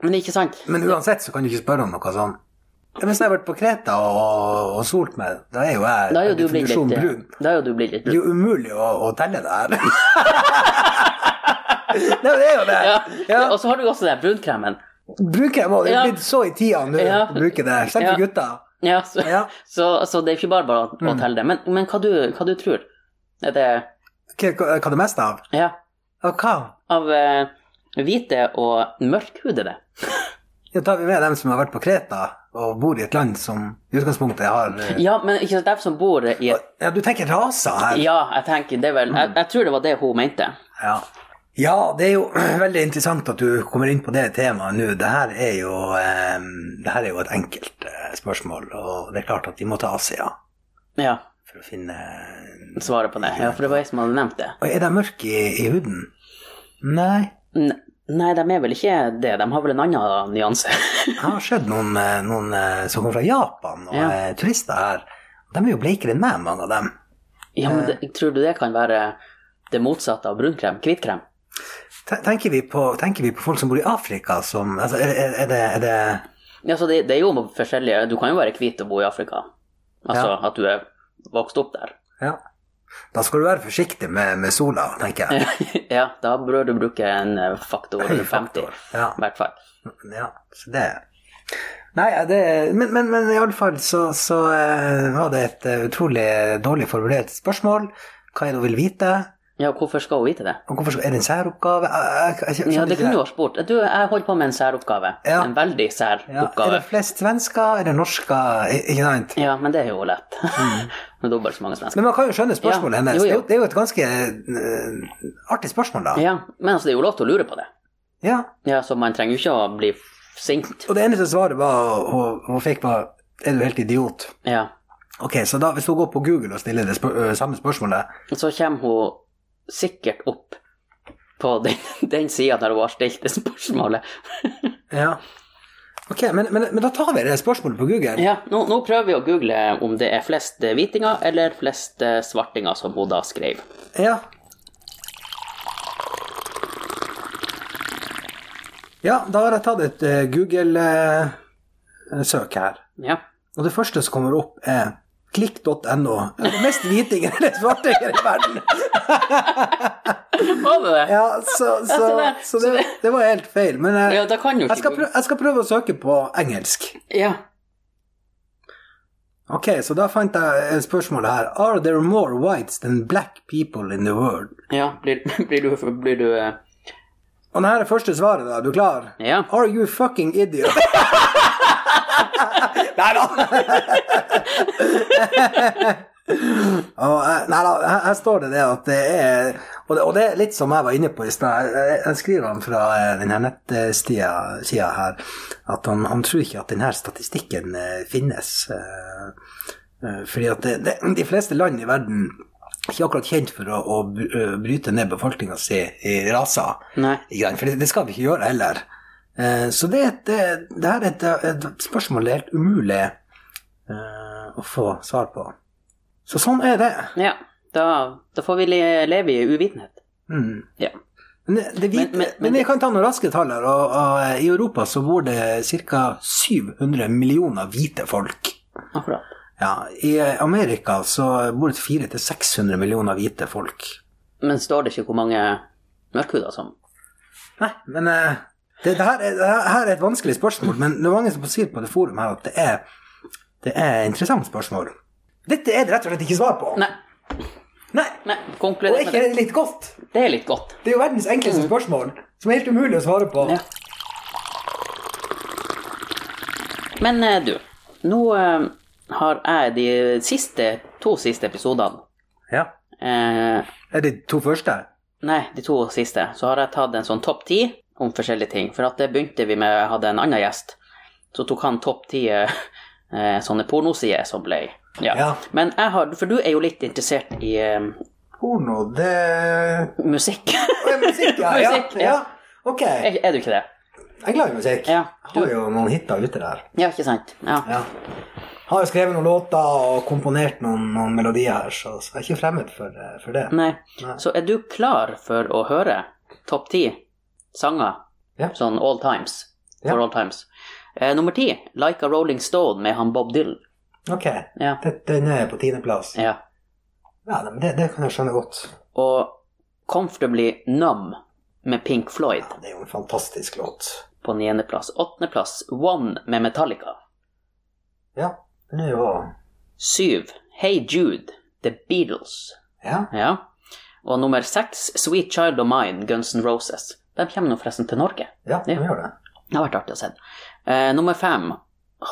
A: Men ikke sant?
B: Men uansett så kan du ikke spørre om noe sånn. Ja, Hvis jeg har vært på Kreta og, og solt meg, da er jo jeg
A: Da er jo du blitt
B: definisjon
A: litt eh,
B: brun.
A: Da er jo du blitt litt
B: Det er
A: brun.
B: jo umulig å, å telle det her. Nei, men det er jo det.
A: Ja.
B: Ja.
A: Og så har du jo også den brunkremen.
B: Bruker jeg må, det
A: Ja.
B: er blitt så i tida nå,
A: Ja.
B: bruker det. Selv
A: Ja.
B: for gutta.
A: Ja, så,
B: Ja.
A: så, så det er ikke bare bare å, å
B: Mm.
A: telle det. Men, men hva, du, hva du tror Er det
B: Hva, hva hva er det meste av?
A: Ja.
B: Av hva?
A: Av eh, hvite og mørkhudede.
B: Ja, tar vi med dem som har vært på Kreta og bor i et land som i utgangspunktet har eh,
A: Ja, men ikke sant, dem som bor i et
B: Ja, du tenker raser her?
A: Ja, jeg tenker det er vel jeg, jeg tror det var det hun mente.
B: Ja. ja, det er jo veldig interessant at du kommer inn på det temaet nå. Det her er jo, eh, det her er jo et enkelt eh, spørsmål, og det er klart at de må til Asia
A: Ja,
B: for å finne
A: svaret på det. Ja, for det var jeg som hadde nevnt det.
B: Og Er de mørke i, i huden? Nei.
A: N nei, de er vel ikke det. De har vel en annen nyanse.
B: Jeg har sett noen, eh, noen eh, som kommer fra Japan, og
A: Ja.
B: eh, turister her. De er jo blekere enn meg, mange av dem.
A: ja, men det, tror du det kan være det motsatte av brunkrem? Hvitkrem?
B: Ten- Tenker vi, på, tenker vi på folk som bor i Afrika som altså, er, er, er det, er det
A: Ja, så det, det er jo forskjellige Du kan jo være hvit og bo i Afrika. Altså
B: Ja.
A: at du er vokst opp der.
B: Ja. Da skal du være forsiktig med, med sola, tenker jeg.
A: ja, da bør du bruke en eh, faktor 50,
B: Faktor. Ja.
A: i hvert fall.
B: ja. Så det Nei, ja, det Men, men, men iallfall så, så eh, var det et eh, utrolig dårlig formulert spørsmål. Hva er det hun vil vite?
A: Ja, hvorfor skal hun vite det?
B: Og hvorfor skal, er det en særoppgave? Jeg- jeg- jeg skjønner
A: Ja, det
B: ikke
A: kunne du ha spurt. Du, jeg holder på med en særoppgave.
B: Ja.
A: En veldig sær
B: Ja, Er
A: oppgave.
B: det flest svensker? Er det norsker? I- Ikke sant?
A: Ja, men det er jo lett.
B: Mm.
A: Med dobbelt så mange svensker.
B: Men man kan jo skjønne spørsmålet
A: Ja,
B: hennes.
A: jo, jo.
B: Det er jo- Det er jo et ganske eh, artig spørsmål, da.
A: Ja, men altså, det er jo lov til å lure på det.
B: ja.
A: Ja, så man trenger jo ikke å bli sint.
B: Og det eneste svaret var, hun, hun fikk var Er du helt idiot?
A: Ja.
B: Ok, så da hvis hun går på Google og stiller det spør øh, samme spørsmålet
A: Så kommer hun sikkert opp på den, den sida der hun har stilt det spørsmålet.
B: Ja. Ok, men, men, men da tar vi det spørsmålet på Google.
A: Ja, nå, nå prøver vi å google om det er flest eh, hvitinger eller flest eh, svartinger som hun da skrev.
B: Ja. Ja, da har jeg tatt et øh, Google-søk her.
A: Ja.
B: Og det første som kommer opp, er klikk.no. Det er Mest hvitinger eller svartinger i verden.
A: Var det det?
B: Ja, så,
A: så
B: så,
A: det-
B: så det, det var helt feil. Men øh, jeg,
A: Ja, da kan jo
B: jeg,
A: ikke
B: skal prøve, jeg skal prøve å søke på engelsk.
A: Ja.
B: Ok, så da fant jeg eh, spørsmålet her. Are there more whites than black people in the world?
A: ja. Blir, blir du, blir du eh,
B: Og det her er første svaret, da. Er du klar?
A: Ja.
B: Are you fucking idiot? nei da. og, eh, nei da, her, her står det det at det er og det, og det er litt som jeg var inne på i stad. Jeg- Jeg, jeg skriver han fra eh, denne nettsida her at han, han tror ikke at denne statistikken eh, finnes. eh, eh, Fordi at det, det, de fleste land i verden er ikke akkurat kjent for å, å br- øh, bryte ned befolkninga si i raser.
A: Nei.
B: Ikke sant? For det, det skal vi ikke gjøre heller. Eh, Så det, er et, eh, det her er et, et spørsmål det er helt umulig eh, å få svar på. Så sånn er det.
A: Ja. Da, da får vi le, leve i uvitenhet.
B: Mm.
A: Ja.
B: Men, det, det vit,
A: Men-
B: men,
A: men- men
B: jeg kan ta noen raske tall her. Og, og eh, I Europa så bor det ca. 700 millioner hvite folk.
A: Akkurat.
B: Ja, I eh, Amerika så bor det 400-600 millioner hvite folk.
A: Men står det ikke hvor mange mørkhuder som
B: Nei, men eh, det, det, her er, det her her er et vanskelig spørsmål, men det er mange som sier på det forum her at det er, det er et interessant spørsmål. Dette er det rett og slett ikke svar på.
A: Nei,
B: Nei.
A: nei,
B: Og
A: konkluder
B: er
A: med
B: ikke
A: det.
B: det litt godt?
A: Det er litt godt.
B: Det er jo verdens
A: Mm.
B: enkleste spørsmål, som er helt umulig å svare på.
A: Ja. Men eh, du, nå eh, har jeg de siste, to siste episodene
B: Ja.
A: eh,
B: Er det de to første?
A: Nei, de to siste. Så har jeg tatt en sånn topp ti om forskjellige ting. For at det begynte vi med Jeg hadde en annen gjest. Så tok han topp ti eh, eh, sånne pornosider som ble ja.
B: Ja.
A: Men jeg har For du er jo litt interessert i eh,
B: Porno, det
A: musikk.
B: Å, ja, Musikk, ja.
A: Musikk, ja.
B: Ok.
A: er, er du ikke det?
B: Jeg er glad i musikk.
A: Ja, du-
B: Har jo noen hiter ute der.
A: Ja, ikke sant? Ja.
B: Ja. Har jo skrevet noen låter og komponert noen, noen melodier her, så, så jeg er ikke fremmed for, eh, for det.
A: Nei.
B: Nei.
A: Så er du klar for å høre topp ti sanger?
B: Ja.
A: Sånn all times. For
B: Ja.
A: all times. Eh, nummer ti, Like a Rolling Stone med han Bob Dylan.
B: Ok,
A: Ja.
B: det- den er på tiendeplass.
A: ja.
B: Ja, nei, men det, det kan jeg skjønne godt.
A: Og Comfortably Numb med Pink Floyd
B: Ja, det er jo en fantastisk låt.
A: på niendeplass. Åttendeplass, One med Metallica.
B: Ja, den er jo
A: Syv, Hey Jude, The Beatles.
B: Ja.
A: Ja. Og nummer seks, Sweet Child of Mine, Guns N' Roses. De kommer nå forresten til Norge.
B: Ja, den gjør det.
A: Det har vært artig å se. Eh, nummer fem,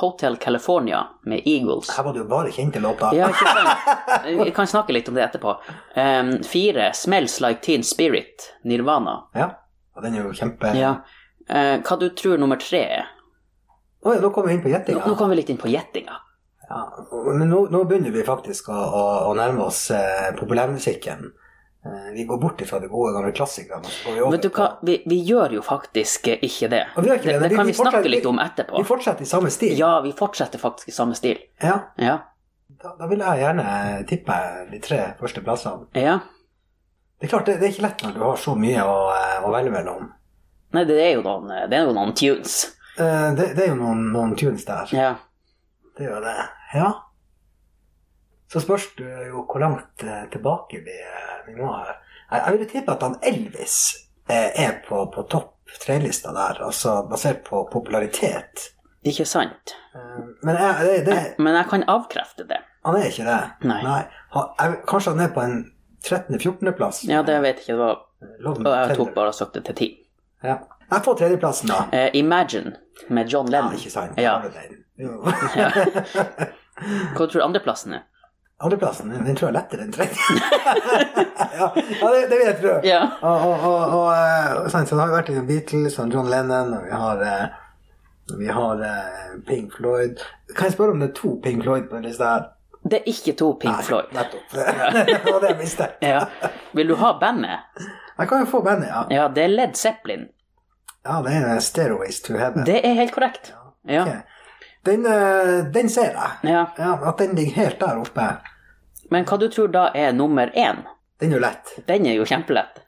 A: Hotel California med Eagles.
B: Her var du jo bare kjent til låta.
A: Ja, ikke sant? Vi kan snakke litt om det etterpå. Em, fire, Smells Like Teen Spirit, Nirvana.
B: Ja. Og den er jo kjempe...
A: Ja. Eh, hva du tror nummer tre er?
B: Oi, nå kom vi inn på
A: Nå, nå
B: gjettinga.
A: kommer vi litt inn på gjettinga.
B: Ja. Men nå, nå begynner vi faktisk å, å, å nærme oss eh, populærmusikken. Eh, vi går bort ifra de gode gamle klassikerne. og så går vi over
A: Vet du hva, vi, vi gjør jo faktisk eh, ikke det.
B: Og vi gjør ikke det,
A: Det,
B: men vi-
A: det kan
B: vi
A: vi snakke
B: fortsetter-
A: litt om
B: på- Vi
A: etterpå.
B: fortsetter i samme stil.
A: Ja, vi fortsetter faktisk i samme stil.
B: Ja,
A: Ja.
B: da, da vil jeg gjerne eh, tippe de tre første plassene.
A: ja.
B: Det er klart, det, det er ikke lett når du har så mye å, eh, å velge mellom.
A: Nei, det er jo noen, eh, det er jo noen tunes.
B: Eh, det, det er jo noen, noen tunes der.
A: Ja.
B: Det er jo det. Ja. Så spørs det jo hvor langt eh, tilbake vi, eh, vi må her. Jeg, jeg ville tippe at han Elvis eh, er på, på topp tre-lista der, altså basert på popularitet.
A: Ikke sant?
B: Eh, men jeg, det, det,
A: Men jeg kan avkrefte det.
B: han er ikke det.
A: Nei.
B: Han, jeg, kanskje han er på en 13.-14.-plass.
A: Ja, det vet jeg ikke. Det var,
B: Love
A: og jeg
B: Tender.
A: tok bare og søkte til ti.
B: Ja. Jeg får tredjeplassen, da.
A: Eh, Imagine med John
B: Ja,
A: Lennon.
B: ikke sant?
A: Ja.
B: Har du den? Jo.
A: Hva tror du andreplassen er?
B: Andreplassen, den den tror jeg er lettere enn tredje. ja, ja det, det vil jeg tro.
A: Ja.
B: Og, og, og, og eh, sant, så det har jo vært liksom Beatles og John Lennon, og vi har, eh, vi har eh, Pink Floyd. Kan jeg spørre om det er to Pink Floyd på den lista her?
A: Det er ikke to Pink Floyd.
B: Nettopp. det var det jeg visste.
A: Ja. Vil du ha bandet?
B: Jeg kan jo få bandet, ja.
A: Ja, det er Led Zeppelin.
B: Ja, det er eh, Stairways to Heaven.
A: Det er helt korrekt. Ja.
B: Ok. Den, eh, den ser jeg.
A: ja.
B: Ja, At den ligger helt der oppe,
A: Men hva du tror da er nummer én?
B: den er jo lett.
A: Den er jo kjempelett.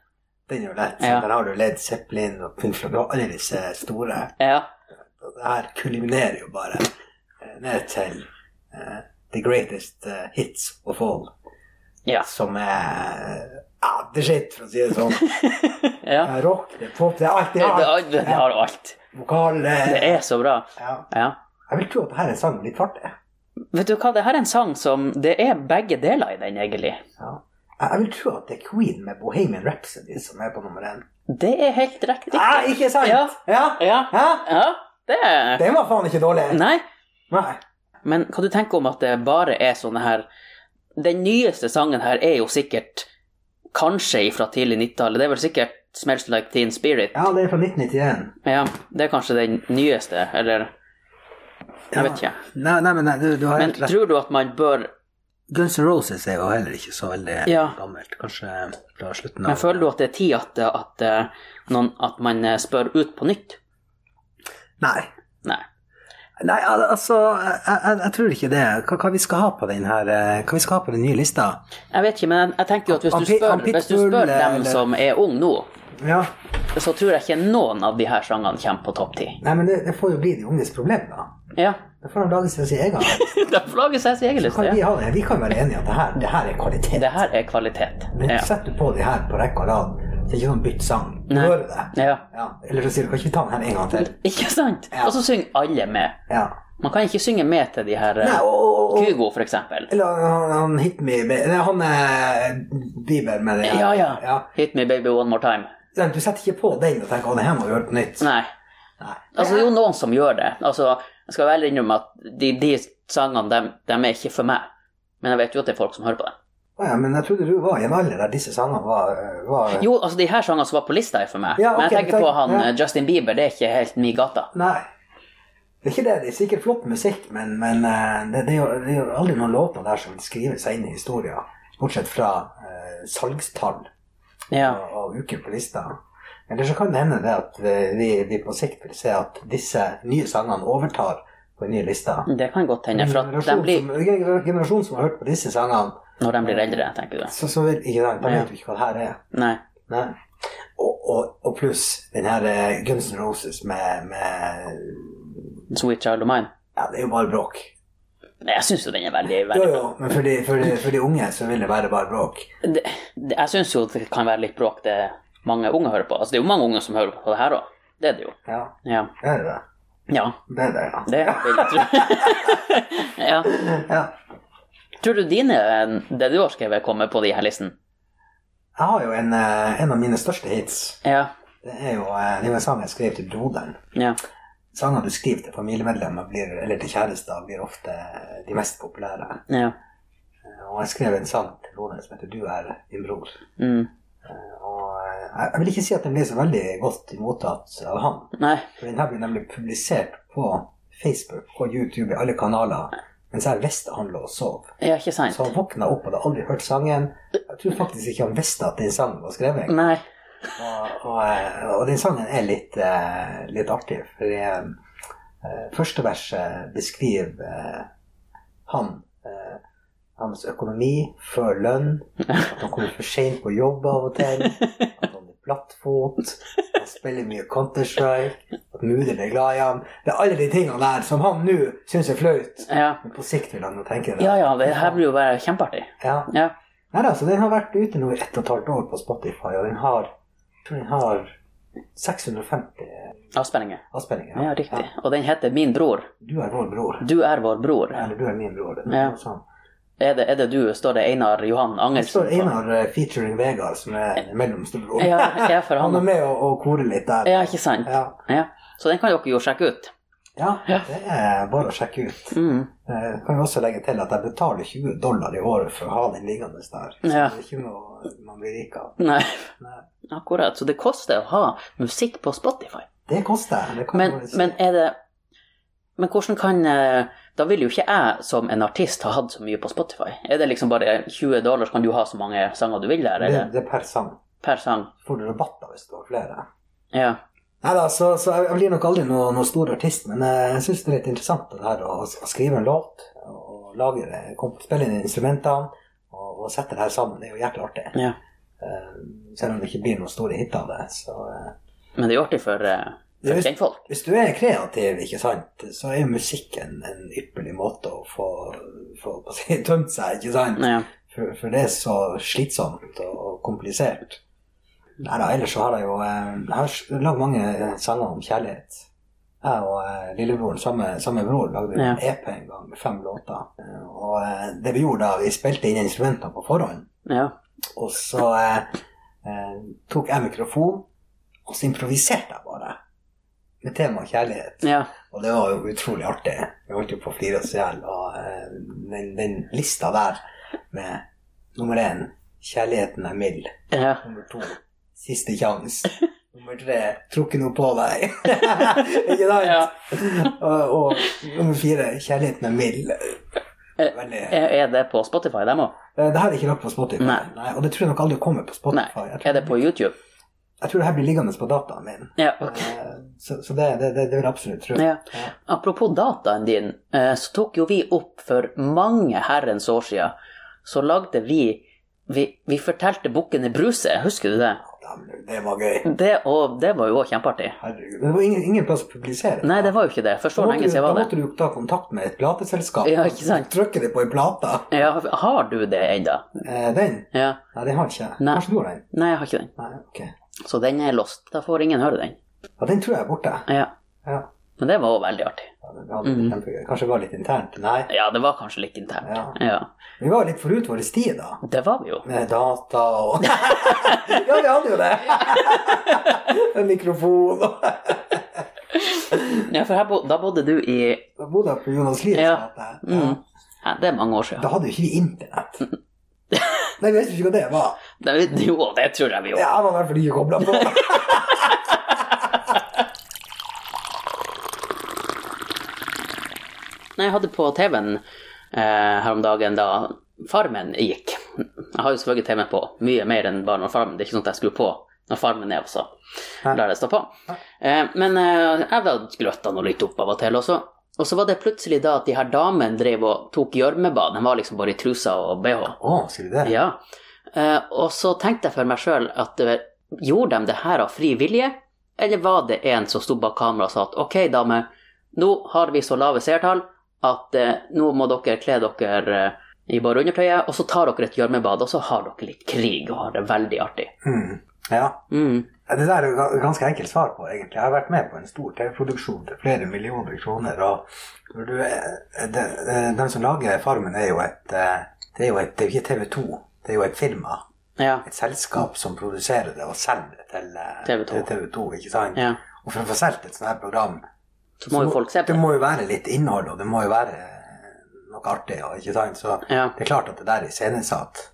B: Den er jo lett.
A: Ja.
B: Der har du Led Zeppelin og Pink Floyd og alle disse store.
A: Ja.
B: Og det her kulminerer jo bare eh, ned til eh, The Greatest eh, Hits of All,
A: Ja.
B: som er ja, the shit, for å si det sånn. Det
A: ja.
B: er rock, det er pop, det er alt.
A: Det,
B: Det er
A: det,
B: alt.
A: det har alt.
B: Vokal eh,
A: Det er så bra.
B: ja.
A: Ja.
B: Jeg vil tro at dette er en sang med litt fart. jeg.
A: Vet du hva, det her er en sang som Det er begge deler i den, egentlig.
B: Ja. Jeg jeg vil tro at det er Queen med Bohemian Rhapsody som er på nummer én.
A: Det er helt riktig.
B: Ja, ikke sant?
A: Ja.
B: ja.
A: Ja.
B: Hæ?
A: Ja, det er
B: Den var faen ikke dårlig.
A: Nei.
B: Nei.
A: Men hva du tenker om at det bare er sånne her Den nyeste sangen her er jo sikkert kanskje fra tidlig 90-tallet. Det er vel sikkert 'Smells Like Teen Spirit'.
B: Ja, det er fra 1991.
A: Ja, det er kanskje den nyeste, eller Jeg vet ikke.
B: Nei, nei, men nei, du, du har
A: Men
B: helt rett.
A: tror du at man bør
B: Guns N' Roses er jo heller ikke så veldig
A: Ja.
B: gammelt. Kanskje fra slutten av
A: Men føler du at det er tid at, at, eh, noen, at man eh, spør ut på nytt?
B: Nei.
A: Nei.
B: Nei, al- altså, jeg, jeg, jeg tror ikke det. Hva, hva vi skal ha på den her eh, Hva vi skal ha på den nye lista?
A: Jeg vet ikke, men jeg, jeg tenker jo at hvis
B: Han
A: du
B: Pit- han
A: spør, hvis du spør
B: Pitbull,
A: dem
B: eller-
A: som er unge nå,
B: Ja.
A: så tror jeg ikke noen av de her sangene kommer på topp ti.
B: Nei, men det, det får jo bli de unges problem, da.
A: Ja.
B: Da får de lage sin sin egen.
A: Derfor lager jeg sin egen
B: Kan
A: liste.
B: vi,
A: ja.
B: ha det? vi kan være enige om at det her, det her er kvalitet.
A: Det her er kvalitet.
B: Men
A: Ja.
B: Setter du på de her på rekke og rad, så er det ikke sånn bytt sang. Du
A: Nei.
B: hører det.
A: ja.
B: Ja. Eller så sier du kan ikke vi ta den her en gang til?
A: Ikke sant?
B: Ja.
A: Og så synger alle med.
B: Ja.
A: Man kan ikke synge med til de her eh,
B: Nei, og, og, og,
A: Kygo, for eksempel.
B: Eller han, han hit me med- Nei, han er Bieber med det.
A: Ja, ja. Hit me baby one more time.
B: Nei, Du setter ikke på den og tenker å, det her må vi gjøre på nytt.
A: Nei.
B: Nei.
A: Altså, det er jo noen som gjør det. Altså, jeg skal vel innrømme at de, de sangene, dem, dem er ikke for meg. Men jeg vet jo at det er folk som hører på dem.
B: Å ja, men jeg trodde du var i en alder der disse sangene var, øh, var
A: Jo, altså, de her sangene som var på lista, er for meg.
B: Ja,
A: men jeg
B: ok,
A: tenker
B: takk.
A: på han
B: Ja.
A: eh, Justin Bieber, det er ikke helt min gata.
B: Nei. Det er ikke det. Det er sikkert flott musikk, men, men øh, det, det, er jo, det er jo aldri noen låter der som vil skrive seg inn i historien. Bortsett fra øh, salgstall
A: Ja.
B: og, og uker på lista. Eller så kan det hende det at øh, vi, vi på sikt vil se at disse nye sangene overtar på den nye lista.
A: Det kan godt hende, for at de
B: Generasjon
A: blir,
B: som, det er en generasjon som har hørt på disse sangene,
A: når de blir eldre, tenker du.
B: så, så vil, ikke sant, de
A: Ja.
B: vet jo ikke hva det her er.
A: Nei.
B: Nei. Og, og, og pluss den her eh, Guns N' Roses med, med
A: Sweet Child of Mine.
B: Ja, det er jo bare bråk.
A: Nei, jeg syns jo den er veldig,
B: Jo,
A: veldig
B: jo, men for de, for, de, for de unge så vil det være bare bråk.
A: det, det, Jeg syns jo det kan være litt bråk det mange unge hører på. Altså, det er jo mange unge som hører på det her òg. Det er det jo.
B: Ja,
A: Ja.
B: det er det.
A: ja
B: Det er det, ja.
A: det vil jeg tro. ja.
B: ja.
A: Tror du dine, det du har skrevet, kommer på de her listen?
B: Jeg har jo en, eh, en av mine største hits.
A: Ja.
B: Det er jo, eh, det er jo en sang jeg skrev til broderen.
A: Ja.
B: sanger du skriver til familiemedlemmer blir, eller til kjærester, blir ofte de mest populære.
A: Ja.
B: Og jeg skrev en sang til Lone som heter 'Du er min bror'.
A: Mm.
B: Og eh, jeg jeg vil ikke si at den ble så veldig godt mottatt av han.
A: Nei.
B: For den her ble nemlig publisert på Facebook, på YouTube, i alle kanaler. Mens jeg visste han lå og sov.
A: Ja, ikke sant?
B: Så han våkna opp og hadde aldri hørt sangen. Jeg tror faktisk ikke han visste at den sangen var skrevet.
A: Nei.
B: Og, og, eh, og den sangen er litt, eh, litt artig, for eh, eh, første verset beskriver eh, han eh, hans økonomi før lønn, at han kommer for seint på jobb av og til, at han er plattfot, han spiller mye Counter-Strike, at mudder'n er glad i ham Det er alle de tingene der som han nå syns er flaut,
A: Ja.
B: men på sikt vil han jo tenke det.
A: ja ja, det her blir jo bare kjempeartig.
B: Ja.
A: Ja.
B: Nei da, så den har vært ute nå i ett og et halvt år på Spotify, og den har, jeg tror den har 650
A: Avspenninger.
B: avspillinger.
A: Ja, riktig. Og den heter Min bror.
B: Du er vår bror.
A: Du er vår bror.
B: Eller du er min bror. Det er
A: Ja.
B: noe sånt.
A: Er det, er det du, står det Einar Johan
B: Det
A: Angelsen?
B: står Einar eh, featuring Vegard, som er den mellomste broren.
A: Ja, ja, for
B: Han er
A: han.
B: med og, og korer litt der.
A: Ja, ikke sant?
B: Ja.
A: Ja. Så den kan dere jo sjekke ut.
B: Ja,
A: Ja.
B: det er bare å sjekke ut.
A: Mm.
B: Eh, kan jo også legge til at jeg betaler 20 dollar i året for å ha den liggende der. Så
A: Ja.
B: det er ikke noe man blir rik av.
A: Nei,
B: Nei.
A: akkurat. Så det koster å ha musikk på Spotify.
B: Det koster. Det kan
A: Men,
B: man jo si.
A: men er det Men hvordan kan eh, Da vil jo ikke jeg som en artist ha hatt så mye på Spotify. Er det liksom bare 20 dollar, så kan du ha så mange sanger du vil der?
B: det,
A: Eller?
B: det er per sang.
A: Per sang.
B: Får du rabatter hvis du har flere?
A: Ja.
B: Nei da, så, så jeg jeg blir nok aldri noen noe stor artist, men eh, jeg syns det er litt interessant det her å, å skrive en låt, og lage det, kom- spille inn instrumentene og, og sette det her sammen. Det er jo hjertelig artig.
A: ja.
B: Eh, selv om det ikke blir noen store hit av det. Så, eh,
A: Men det er jo artig for, eh,
B: Ja,
A: for
B: hvis-
A: kjentfolk.
B: hvis du er kreativ, ikke sant, så er jo musikk en, en ypperlig måte å få, få på å si, tømt seg, ikke sant?
A: Ja.
B: For, for det er så slitsomt og, og komplisert. Nei da, ellers så har jeg jo eh, Jeg har s- lagd mange eh, sanger om kjærlighet. Jeg og eh, lillebroren, samme, samme bror, lagde en EP en gang med fem låter. Eh, Og eh, det vi gjorde da, vi spilte inn instrumentene på forhånd,
A: ja.
B: og så eh, eh, tok jeg mikrofon, og så improviserte jeg bare. Med tema kjærlighet.
A: ja.
B: Og det var jo utrolig artig. Vi holdt jo på å flire oss i hjel. Og eh, den, den lista der med nummer én 'Kjærligheten er mild'.
A: ja.
B: Nummer to 'Siste sjans'. Nummer tre 'Tror ikke noe på deg'. ikke sant?
A: Ja.
B: Og, og nummer fire 'Kjærligheten er mild'.
A: Eh,
B: Veldig
A: Er, er det på Spotify, dem òg?
B: Eh, Det her er ikke lagt på Spotify.
A: Nei.
B: og det tror jeg nok aldri kommer på
A: Nei.
B: Spotify. Jeg
A: Er
B: tror,
A: det på YouTube?
B: jeg tror det her blir liggende på dataen min.
A: Ja, ok.
B: Eh, Så, så det, det, det, det vil jeg absolutt tro.
A: Ja. Apropos dataen din, eh, så tok jo vi opp for mange herrens år siden, så lagde vi Vi, vi fortalte Bukkene Bruse, husker du det?
B: Ja, men Det var gøy.
A: Det, og, det var jo også kjempeartig.
B: Herregud. Men det var ingen, ingen plass å publisere.
A: Nei, det var jo ikke det, for så
B: Da måtte
A: lenge
B: du-
A: siden var
B: Da
A: det.
B: måtte du jo ta kontakt med et plateselskap.
A: Ja, ikke sant?
B: Trykke det på ei plate.
A: Ja, har du det ennå?
B: Eh, den?
A: Ja.
B: Nei, den har ikke jeg.
A: Nei.
B: Kanskje du har den?
A: Nei, jeg har ikke den.
B: Nei, ok.
A: Så den er lost. Da får ingen høre den.
B: Ja, den tror jeg er borte.
A: Ja.
B: Ja.
A: Men det var også veldig artig.
B: Ja, det var
A: Mm.
B: kjempegøy. Kanskje det var litt internt. Nei.
A: Ja, det var kanskje litt internt.
B: Ja.
A: Ja.
B: Vi var litt forut vår tid, da.
A: Det var vi jo.
B: Med data og Ja, vi hadde jo det! Med Mikrofon og
A: Ja, for her bo, da bodde du i
B: Da bodde jeg på Jonas Lies
A: Ja.
B: gate.
A: mm. ja, Det er mange år siden.
B: Da hadde jo ikke vi internett. Nei, vi visste jo ikke hva det var.
A: Det, jo, det tror jeg vi gjorde.
B: Ja, jeg var i hvert fall ikke kobla på.
A: Nei, jeg hadde på TV-en eh, her om dagen da Farmen gikk. Jeg har jo selvfølgelig TV-en på mye mer enn bare når Farmen Det er ikke sånn at jeg skrur på når Farmen er, og så
B: Hæ?
A: lar jeg det stå på. Eh, men eh, jeg var gløtta nå litt opp av og til også. Og så var det plutselig da at de her damene drev og tok gjørmebad. De var liksom bare i trusa og bh.
B: Å, sier du det?
A: Ja. Eh, og så tenkte jeg for meg sjøl at eh, gjorde de det her av fri vilje, eller var det en som sto bak kamera og sa at ok, damer, nå har vi så lave seertall at eh, nå må dere kle dere eh, i bare undertøyet, og så tar dere et gjørmebad, og så har dere litt krig og har det veldig artig.
B: Mm. ja.
A: Mm.
B: Ja, Det der er jo ga- ganske enkelt svar på, egentlig. Jeg har vært med på en stor TV-produksjon til flere millioner kroner. og når du, eh, er- de, de som lager Farmen, er jo et eh, Det er jo et, det er jo ikke TV 2, det er jo et firma.
A: Ja.
B: Et selskap som produserer det og selger det til eh,
A: TV2.
B: til TV 2. ikke sant?
A: ja.
B: Og for å få solgt et sånt her program,
A: så må jo folk se på
B: Det
A: det.
B: må jo være litt innhold, og det må jo være eh, noe artig. Og, ikke sant? Så
A: Ja.
B: det er klart at det der er iscenesatt.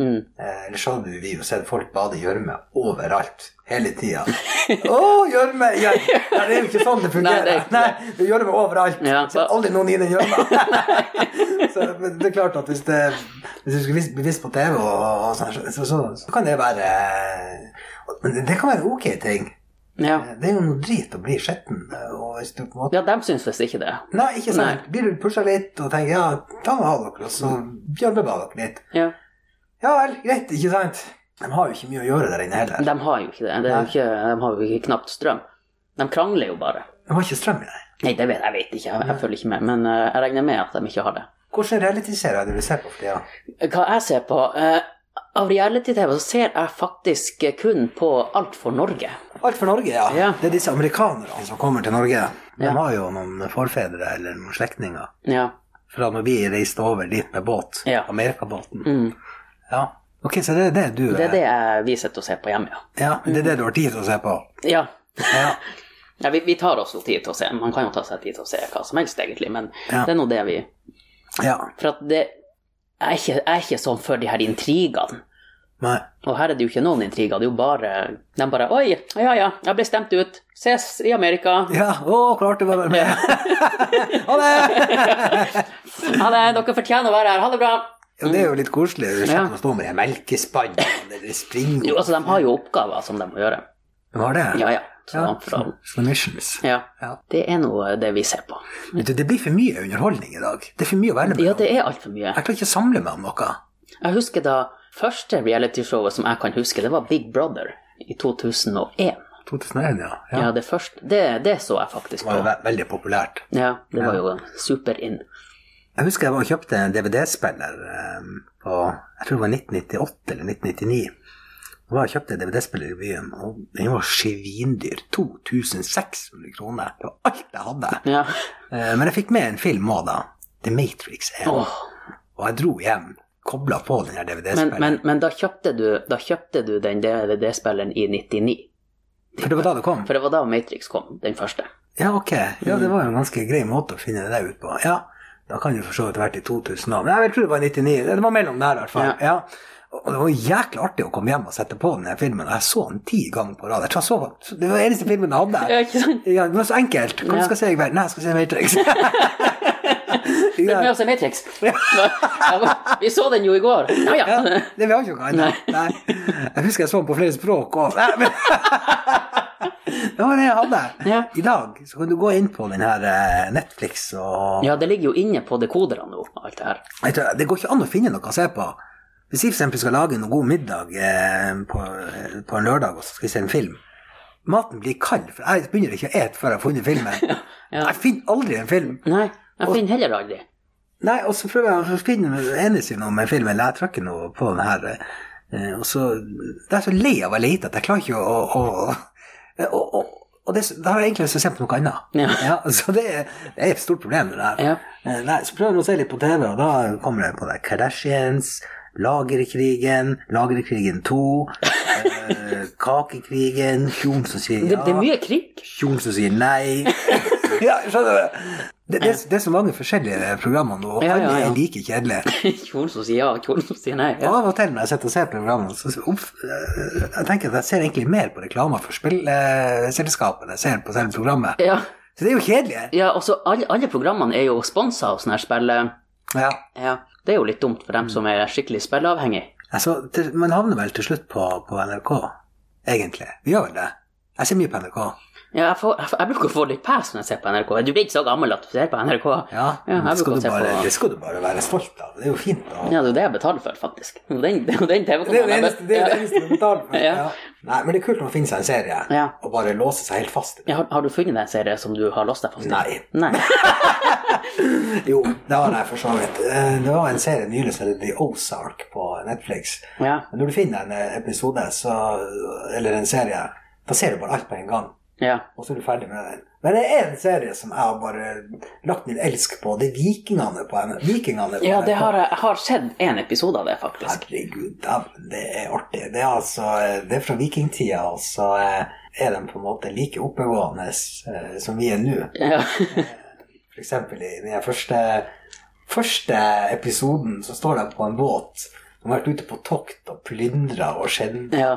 A: Mm.
B: Eh, Ellers hadde vi jo sett folk bade i gjørme overalt, hele tida. Å, gjørme! gjør- Nei, det er jo ikke sånn det
A: Nei, det er
B: fungerer.
A: ikke
B: Nei, det er gjørme overalt.
A: Ja,
B: så...
A: så-
B: Aldri noen i den gjørma. så men det er klart at hvis, det, hvis du skulle vis- bli vist på TV, og, og sånn, så, så, så, så kan det være Men det kan være ok ting.
A: Ja.
B: Det er jo noe drit å bli skitten. Og hvis du på en måte
A: ja, dem syns visst ikke det.
B: Nei, ikke sant. Blir du pusha litt og tenker ja, ta nå av dere, og så gjørmebad dere litt.
A: Ja.
B: Ja vel, greit, ikke sant? De har jo ikke mye å gjøre der inne heller.
A: De har jo ikke det. det er jo
B: Nei.
A: ikke, de har jo ikke knapt strøm. De krangler jo bare.
B: De har ikke strøm i det.
A: Nei, det vet, jeg vet ikke, jeg, jeg følger ikke med, men eh, jeg regner med at de ikke har det.
B: Hvordan realityserier du vil se på for tida?
A: Hva jeg ser på eh, Av reality-TV så ser jeg faktisk kun på Alt for Norge.
B: Alt for Norge, ja.
A: Ja.
B: Det er disse amerikanerne som kommer til Norge. De
A: Ja.
B: har jo noen forfedre eller noen slektninger
A: Ja.
B: fra når vi reiste over dit med båt.
A: Ja.
B: Amerikabåten.
A: Mm.
B: Ja. Ok, så det er det du
A: Det Mm. er det jeg, vi sitter og ser på hjemme, ja.
B: Ja, det er det du har tid til å se på.
A: Ja.
B: Ja.
A: ja vi, vi tar oss jo tid til å se. Man kan jo ta seg tid til å se hva som helst, egentlig, men
B: Ja.
A: det er nå det vi
B: ja.
A: For at det jeg er ikke, jeg er ikke sånn for de her intrigene.
B: Nei.
A: Og her er det jo ikke noen intriger, det er jo bare De bare Oi, ja ja, jeg ble stemt ut. Ses i Amerika.
B: Ja, å, klarte du å være med? ha det!
A: Ha det, dere fortjener å være her. Ha det bra.
B: Ja, det er jo litt koselig. Du slipper
A: Ja.
B: å stå med de melkespannene eller de
A: Jo,
B: springene.
A: altså, de har jo oppgaver som de må gjøre.
B: Du har det?
A: Ja, ja. Så,
B: Ja,
A: fra,
B: så- så missions.
A: ja.
B: Ja.
A: Det er noe det vi ser på.
B: Vet du, det blir for mye underholdning i dag. Det er for mye å velge mellom.
A: Ja, det er altfor mye.
B: Jeg klarer ikke å samle meg om noe.
A: Jeg husker da første realityshowet som jeg kan huske, det var Big Brother i 2001.
B: 2001, ja. ja.
A: Ja, det første Det, det så jeg faktisk
B: Det var jo
A: på.
B: ve veldig populært.
A: Ja, det var jo super in.
B: Jeg husker jeg var og kjøpte en DVD-spiller eh, på Jeg tror det var 1998 eller 1999. Da var jeg og kjøpte en DVD-spiller i byen, og den var svindyr. 2600 kroner. Det var alt jeg hadde.
A: Ja.
B: Eh, Men jeg fikk med en film òg, da. The Matrix. er
A: Åh.
B: Og jeg dro hjem, kobla på den her
A: Men,
B: DVD-spilleren.
A: men, men da, kjøpte du, da kjøpte du den DVD-spilleren i 99.
B: For det var da det kom?
A: For det var da Matrix kom, den første.
B: Ja, ok. Ja, det var jo en ganske grei måte å finne det der ut på. Ja, da kan det jo for så vidt vært i 2000 år. Men jeg tror det var 99. Det var mellom der, i hvert fall.
A: Ja.
B: Ja. Og det var jo jækla artig å komme hjem og sette på den her filmen. Jeg så den ti ganger på rad. Jeg tror jeg så, Det var den eneste filmen jeg hadde.
A: Ja, ikke sant?
B: Ja, det var så enkelt. Hva
A: Ja.
B: skal jeg se i kveld? Nei, jeg skal se Matrix.
A: Følg med
B: ja.
A: oss i altså, Matrix. Vi så den jo i går. Ja, ja.
B: Ja, det vi har ikke noe annet. Nei. Jeg husker jeg så den på flere språk òg. Det var det jeg hadde.
A: Ja.
B: I dag så kan du gå inn på den her eh, Netflix og
A: Ja, det ligger jo inne på dekoderne nå, alt det her.
B: Jeg tror- Det går ikke an å finne noe å se på. Hvis jeg for eksempel skal lage noe god middag eh, på, på en lørdag, og så skal jeg se en film Maten blir kald, for jeg begynner ikke å ete før jeg har funnet filmen.
A: Ja.
B: Jeg finner aldri en film.
A: Nei, jeg finner heller aldri.
B: Nei, og så prøver jeg å finne enes i noe med filmen, eller jeg tror ikke noe på den her. eh, Og så, det er så lei av å lete at jeg klarer ikke å... å, å, å, å og det, er så- da har jeg egentlig lyst til å se på noe annet.
A: Ja.
B: så det er, det er et stort problem det der.
A: Ja.
B: Eh, Nei, så prøver jeg å se litt på TV, og da kommer jeg på det. Kardashians, Lagerkrigen, Lagerkrigen 2, eh, Kakekrigen, Kjon som sier
A: Det,
B: ja.
A: det er mye krig.
B: Kjol som sier nei. ja, skjønner du? Det, det, det er så mange forskjellige programmer nå, og
A: Ja, ja,
B: alle
A: ja.
B: er like kjedelige.
A: Kjolen som sier ja, kjolen som sier nei.
B: Og
A: Ja.
B: av og til når jeg sitter og ser programmene, så opp, eh, jeg tenker at jeg ser egentlig mer på reklamer for spillselskapet enn jeg ser på selve programmet.
A: Ja,
B: Så det er jo kjedelig.
A: ja og så alle, alle programmene er jo sponsa av sånne her spill. eh,
B: Ja.
A: Ja, det er jo litt dumt for dem som er skikkelig spilleavhengig.
B: Altså, til, man havner vel til slutt på, på NRK, egentlig. Vi gjør vel det. Jeg ser mye på NRK.
A: Ja, jeg, får, jeg, får- jeg bruker å få litt pes når jeg ser på NRK. Du blir ikke så gammel at du ser på NRK.
B: Ja,
A: Ja,
B: det,
A: jeg bruker å
B: skal du
A: se
B: bare, liksom-
A: på-
B: det skal du bare være stolt av. Det er jo fint. å-
A: Ja, det er jo det jeg betaler for, faktisk. Det er jo den, det er jo den
B: Det er jo det
A: TV-kanalen.
B: eneste, det er jo det
A: Ja.
B: eneste du betaler for.
A: Ja.
B: Ja. Nei, men det er kult når man finner seg en serie
A: Ja.
B: og bare låser seg helt fast. i den.
A: Ja, har, har du funnet deg en serie som du har låst deg fast i?
B: Nei.
A: Nei.
B: Jo, det har jeg for så vidt. Eh, Det var en serie nylig som heter The Ozark på Netflix.
A: Ja.
B: Men Når du finner en eh, episode, så, eller en serie, da ser du bare alt på en gang.
A: Ja.
B: og så er du ferdig med den. Men det er en serie som jeg har bare lagt min elsk på. Det er Vikingene på NRK. Vikingene på
A: ja, det
B: NRK.
A: har jeg, jeg har sett en episode av det, faktisk.
B: Herregud, dæven, det er artig. Det er, altså, det er fra vikingtida, og så eh, er de på en måte like oppegående eh, som vi er nå.
A: Ja.
B: For eksempel i den første, første episoden så står de på en båt. De har vært ute på tokt og plyndra og skjedd.
A: ja.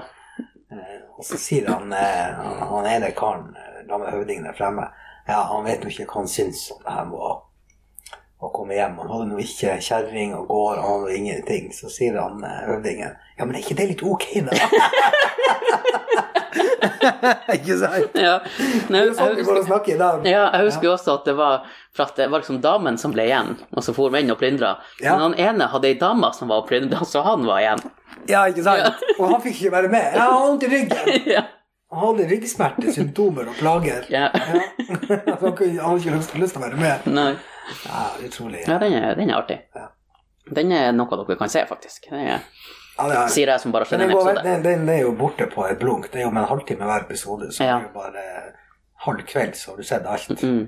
B: Og så sier han, eh, han, han ene karen, eh, la meg høvdingen der fremme, ja, han vet jo ikke hva han syns om det her med å, å komme hjem. Han hadde nå ikke kjerring og gård, han hadde ingenting. Så sier han eh, høvdingen, ja, men er ikke det litt ok, da? ikke sant?
A: ja. Nei,
B: Det er sånn
A: jeg
B: vi går og
A: husker,
B: snakker i dag.
A: ja, jeg husker jo også at det var for at det var liksom damen som ble igjen, og så for menn og plyndra.
B: Ja.
A: Men han ene hadde ei dame som var og plyndra, så han var igjen.
B: Ja, ikke sant? Og han fikk ikke være med. Jeg har vondt i ryggen.
A: ja.
B: Han hadde ryggsmerter, symptomer og plager.
A: Ja.
B: Ja. Så han kunne- han hadde ikke lyst, lyst til å være med.
A: Nei.
B: Ja, utrolig.
A: ja, den er, den er artig.
B: Ja.
A: Den er noe dere kan se, faktisk. Den er,
B: Ja, det er-
A: sier jeg som bare har
B: Men
A: sett en
B: Den, går,
A: episode.
B: den, den er jo borte på et blunk. Det er jo med en halvtime hver episode. Så
A: Ja.
B: det er jo bare halv kveld, så har du sett alt.
A: Mm.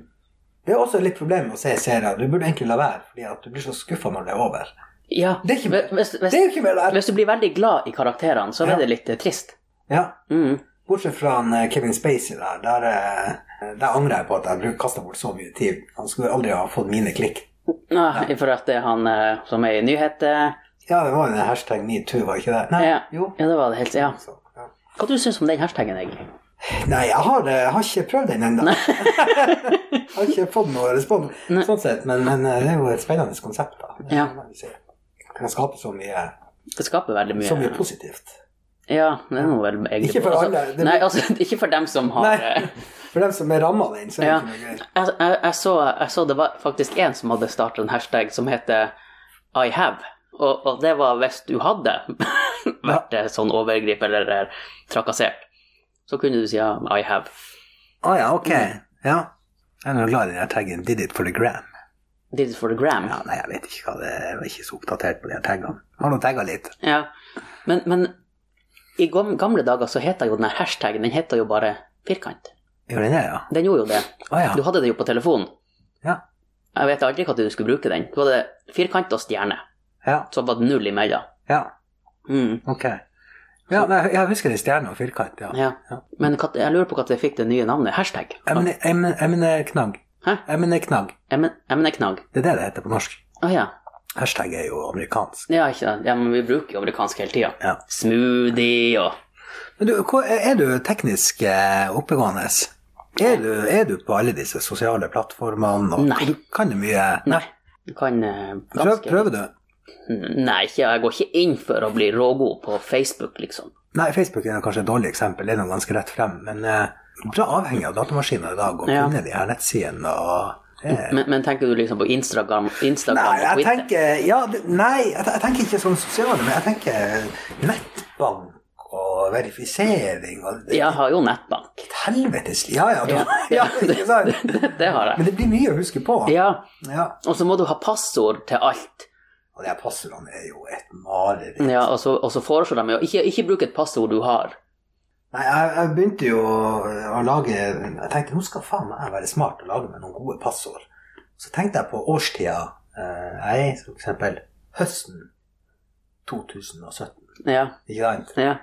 B: Det er også litt problem med å se serier. Du burde egentlig la være, fordi at du blir så skuffa når det er over.
A: Ja.
B: Det er ikke mer.
A: Hvis,
B: Det
A: hvis,
B: er jo ikke mer der.
A: hvis du blir veldig glad i karakterene, så
B: Ja.
A: er det litt eh, trist.
B: Ja.
A: Mm.
B: Bortsett fra han, eh, Kevin Spacey der. Der, eh, der angrer jeg på at jeg kasta bort så mye tid. Han skulle aldri ha fått mine klikk.
A: Nei, Ah, for at det er han eh, som er i nyheter
B: Ja, det var jo den hashtag metoo, var ikke det? Nei,
A: Ja.
B: jo.
A: Ja, det var det helt Ja.
B: Så, ja.
A: Hva du syns du om den hashtagen, egentlig?
B: Nei, jeg har, eh, jeg har ikke prøvd den ennå. jeg har ikke fått noe respons,
A: Nei.
B: sånn sett, men, men det er jo et spennende konsept. da. Det
A: Ja.
B: må man si. Kan skape så mye,
A: Det skaper veldig mye.
B: så mye positivt.
A: Ja, det er noe vel egentlig
B: Ikke for
A: altså,
B: alle, det blir-
A: Nei, altså, ikke for dem som har
B: Nei.
A: eh,
B: For dem som er ramma av den, så er det
A: Ja.
B: ikke noe gøy.
A: jeg, jeg, jeg, så, jeg så det var faktisk en som hadde startet en hashtag som heter I have. Og, og det var hvis du hadde vært eh, sånn overgrip eller eh, trakassert, så kunne du si ja, I have.
B: Å ja, ok. Ja. Jeg er nå glad i den her taggen 'did it for the gram'.
A: Did it for the gram.
B: Ja, nei, jeg vet ikke hva det er. Jeg var ikke så oppdatert på de her taggene. Har nå tagga litt.
A: Ja. Men, men i gam- gamle dager så heta jo den her hashtagen den heta jo bare firkant.
B: Gjør den det, ja?
A: Den gjorde jo det.
B: Å ja.
A: Du hadde det jo på telefonen.
B: Ja.
A: Jeg vet aldri når du skulle bruke den. Du hadde firkant og stjerne,
B: Ja.
A: så var det null imellom.
B: ja.
A: Mm.
B: Ok. Ja, nei, jeg husker det stjerne og firkant, ja.
A: Ja. Men hva- jeg lurer på når jeg fikk det nye navnet. Hashtag.
B: Emne- emne- Emneknagg.
A: Hæ?
B: Emneknagg.
A: Emne- Emneknagg.
B: Det er det det heter på norsk.
A: Å ja.
B: Hashtag er jo amerikansk.
A: Ja, ikke sant. Ja, men vi bruker jo amerikansk hele tida.
B: Ja.
A: Smoothie og
B: Men du, hva, er du teknisk eh, oppegående? Er du, er du på alle disse sosiale plattformene? Og,
A: Nei.
B: Du kan jo mye.
A: Nei. Du kan eh,
B: Prøv,
A: ganske
B: prøver du?
A: Nei, ikke, jeg går ikke inn for å bli rågod på Facebook, liksom.
B: Nei, Facebook er kanskje et dårlig eksempel. Det er noe ganske rett frem. Men eh, bra avhengig av datamaskiner i dag å
A: Ja.
B: finne de her nettsidene og eh,
A: Men, men tenker du liksom på Instagram, Instagram
B: Nei,
A: og
B: jeg
A: Twitter?
B: tenker, ja, det- nei, jeg, jeg tenker ikke sånn sosiale, men jeg tenker nettbank og verifisering og
A: Jeg har jo nettbank.
B: Et helvetes Ja, ja, du,
A: Ja.
B: ja, ikke sant?
A: Det har jeg.
B: Men det blir mye å huske på.
A: Ja,
B: Ja.
A: og så må du ha passord til alt.
B: Og de her passordene er jo et mareritt.
A: Ja, og så, og så foreslår de jo ikke, ikke bruk et passord du har.
B: Nei, jeg, jeg begynte jo å lage Jeg tenkte nå skal faen meg være smart og lage meg noen gode passord. Så tenkte jeg på årstida eh, jeg er i, for eksempel høsten 2017.
A: Ja,
B: Ikke sant?
A: ja.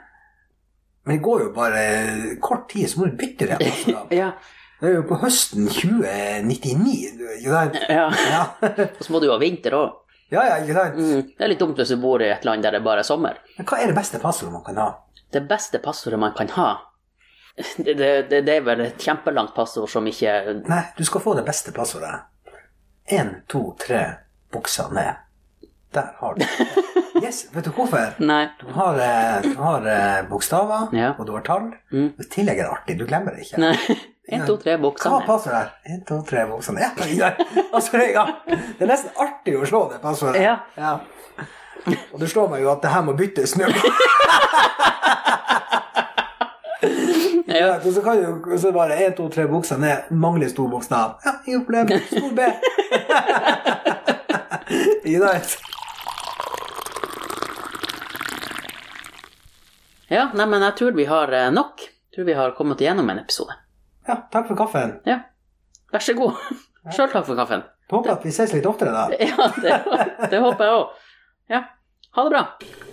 B: Men det går jo bare kort tid, så må du bytte det. passordene.
A: ja,
B: Det er jo på høsten 2099, du, ikke sant?
A: ja.
B: Ja.
A: Og så må du jo ha vinter òg.
B: ja, ja, ikke sant?
A: Mm. Det er litt dumt hvis du bor i et land der det bare er sommer.
B: Men hva er det beste passordet man kan ha?
A: Det beste passordet man kan ha, det, det, det det er vel et kjempelangt passord som ikke
B: Nei, du skal få det beste passordet. Én, to, tre, buksa ned. Der har du det. Yes, vet du hvorfor?
A: Nei.
B: Du har, eh, du har eh, bokstaver,
A: Ja.
B: og du har tall.
A: Mm.
B: I tillegg er det artig, du glemmer det ikke.
A: Nei. En, to, tre,
B: Hva var
A: buksene.
B: passordet? her? Én, to, tre, buksa ned. Ja, Altså, ja. Og så er det i gang. Det er nesten artig å slå det passordet.
A: Ja.
B: Og det slår meg jo at det her må byttes nå. Ja,
A: Ja,
B: og Så kan du så bare én, to, tre, buksa ned. Mangler stor bokstav. Ja, ingen problem. Stor B. Ikke sant?
A: ja nei, men jeg tror vi har eh, nok. Jeg tror vi har kommet igjennom en episode.
B: Ja, takk for kaffen.
A: Ja. Vær så god. Sjøl takk for kaffen.
B: Håper at vi ses litt oftere, da.
A: Ja, det, det håper jeg òg. Ja. Ha det bra.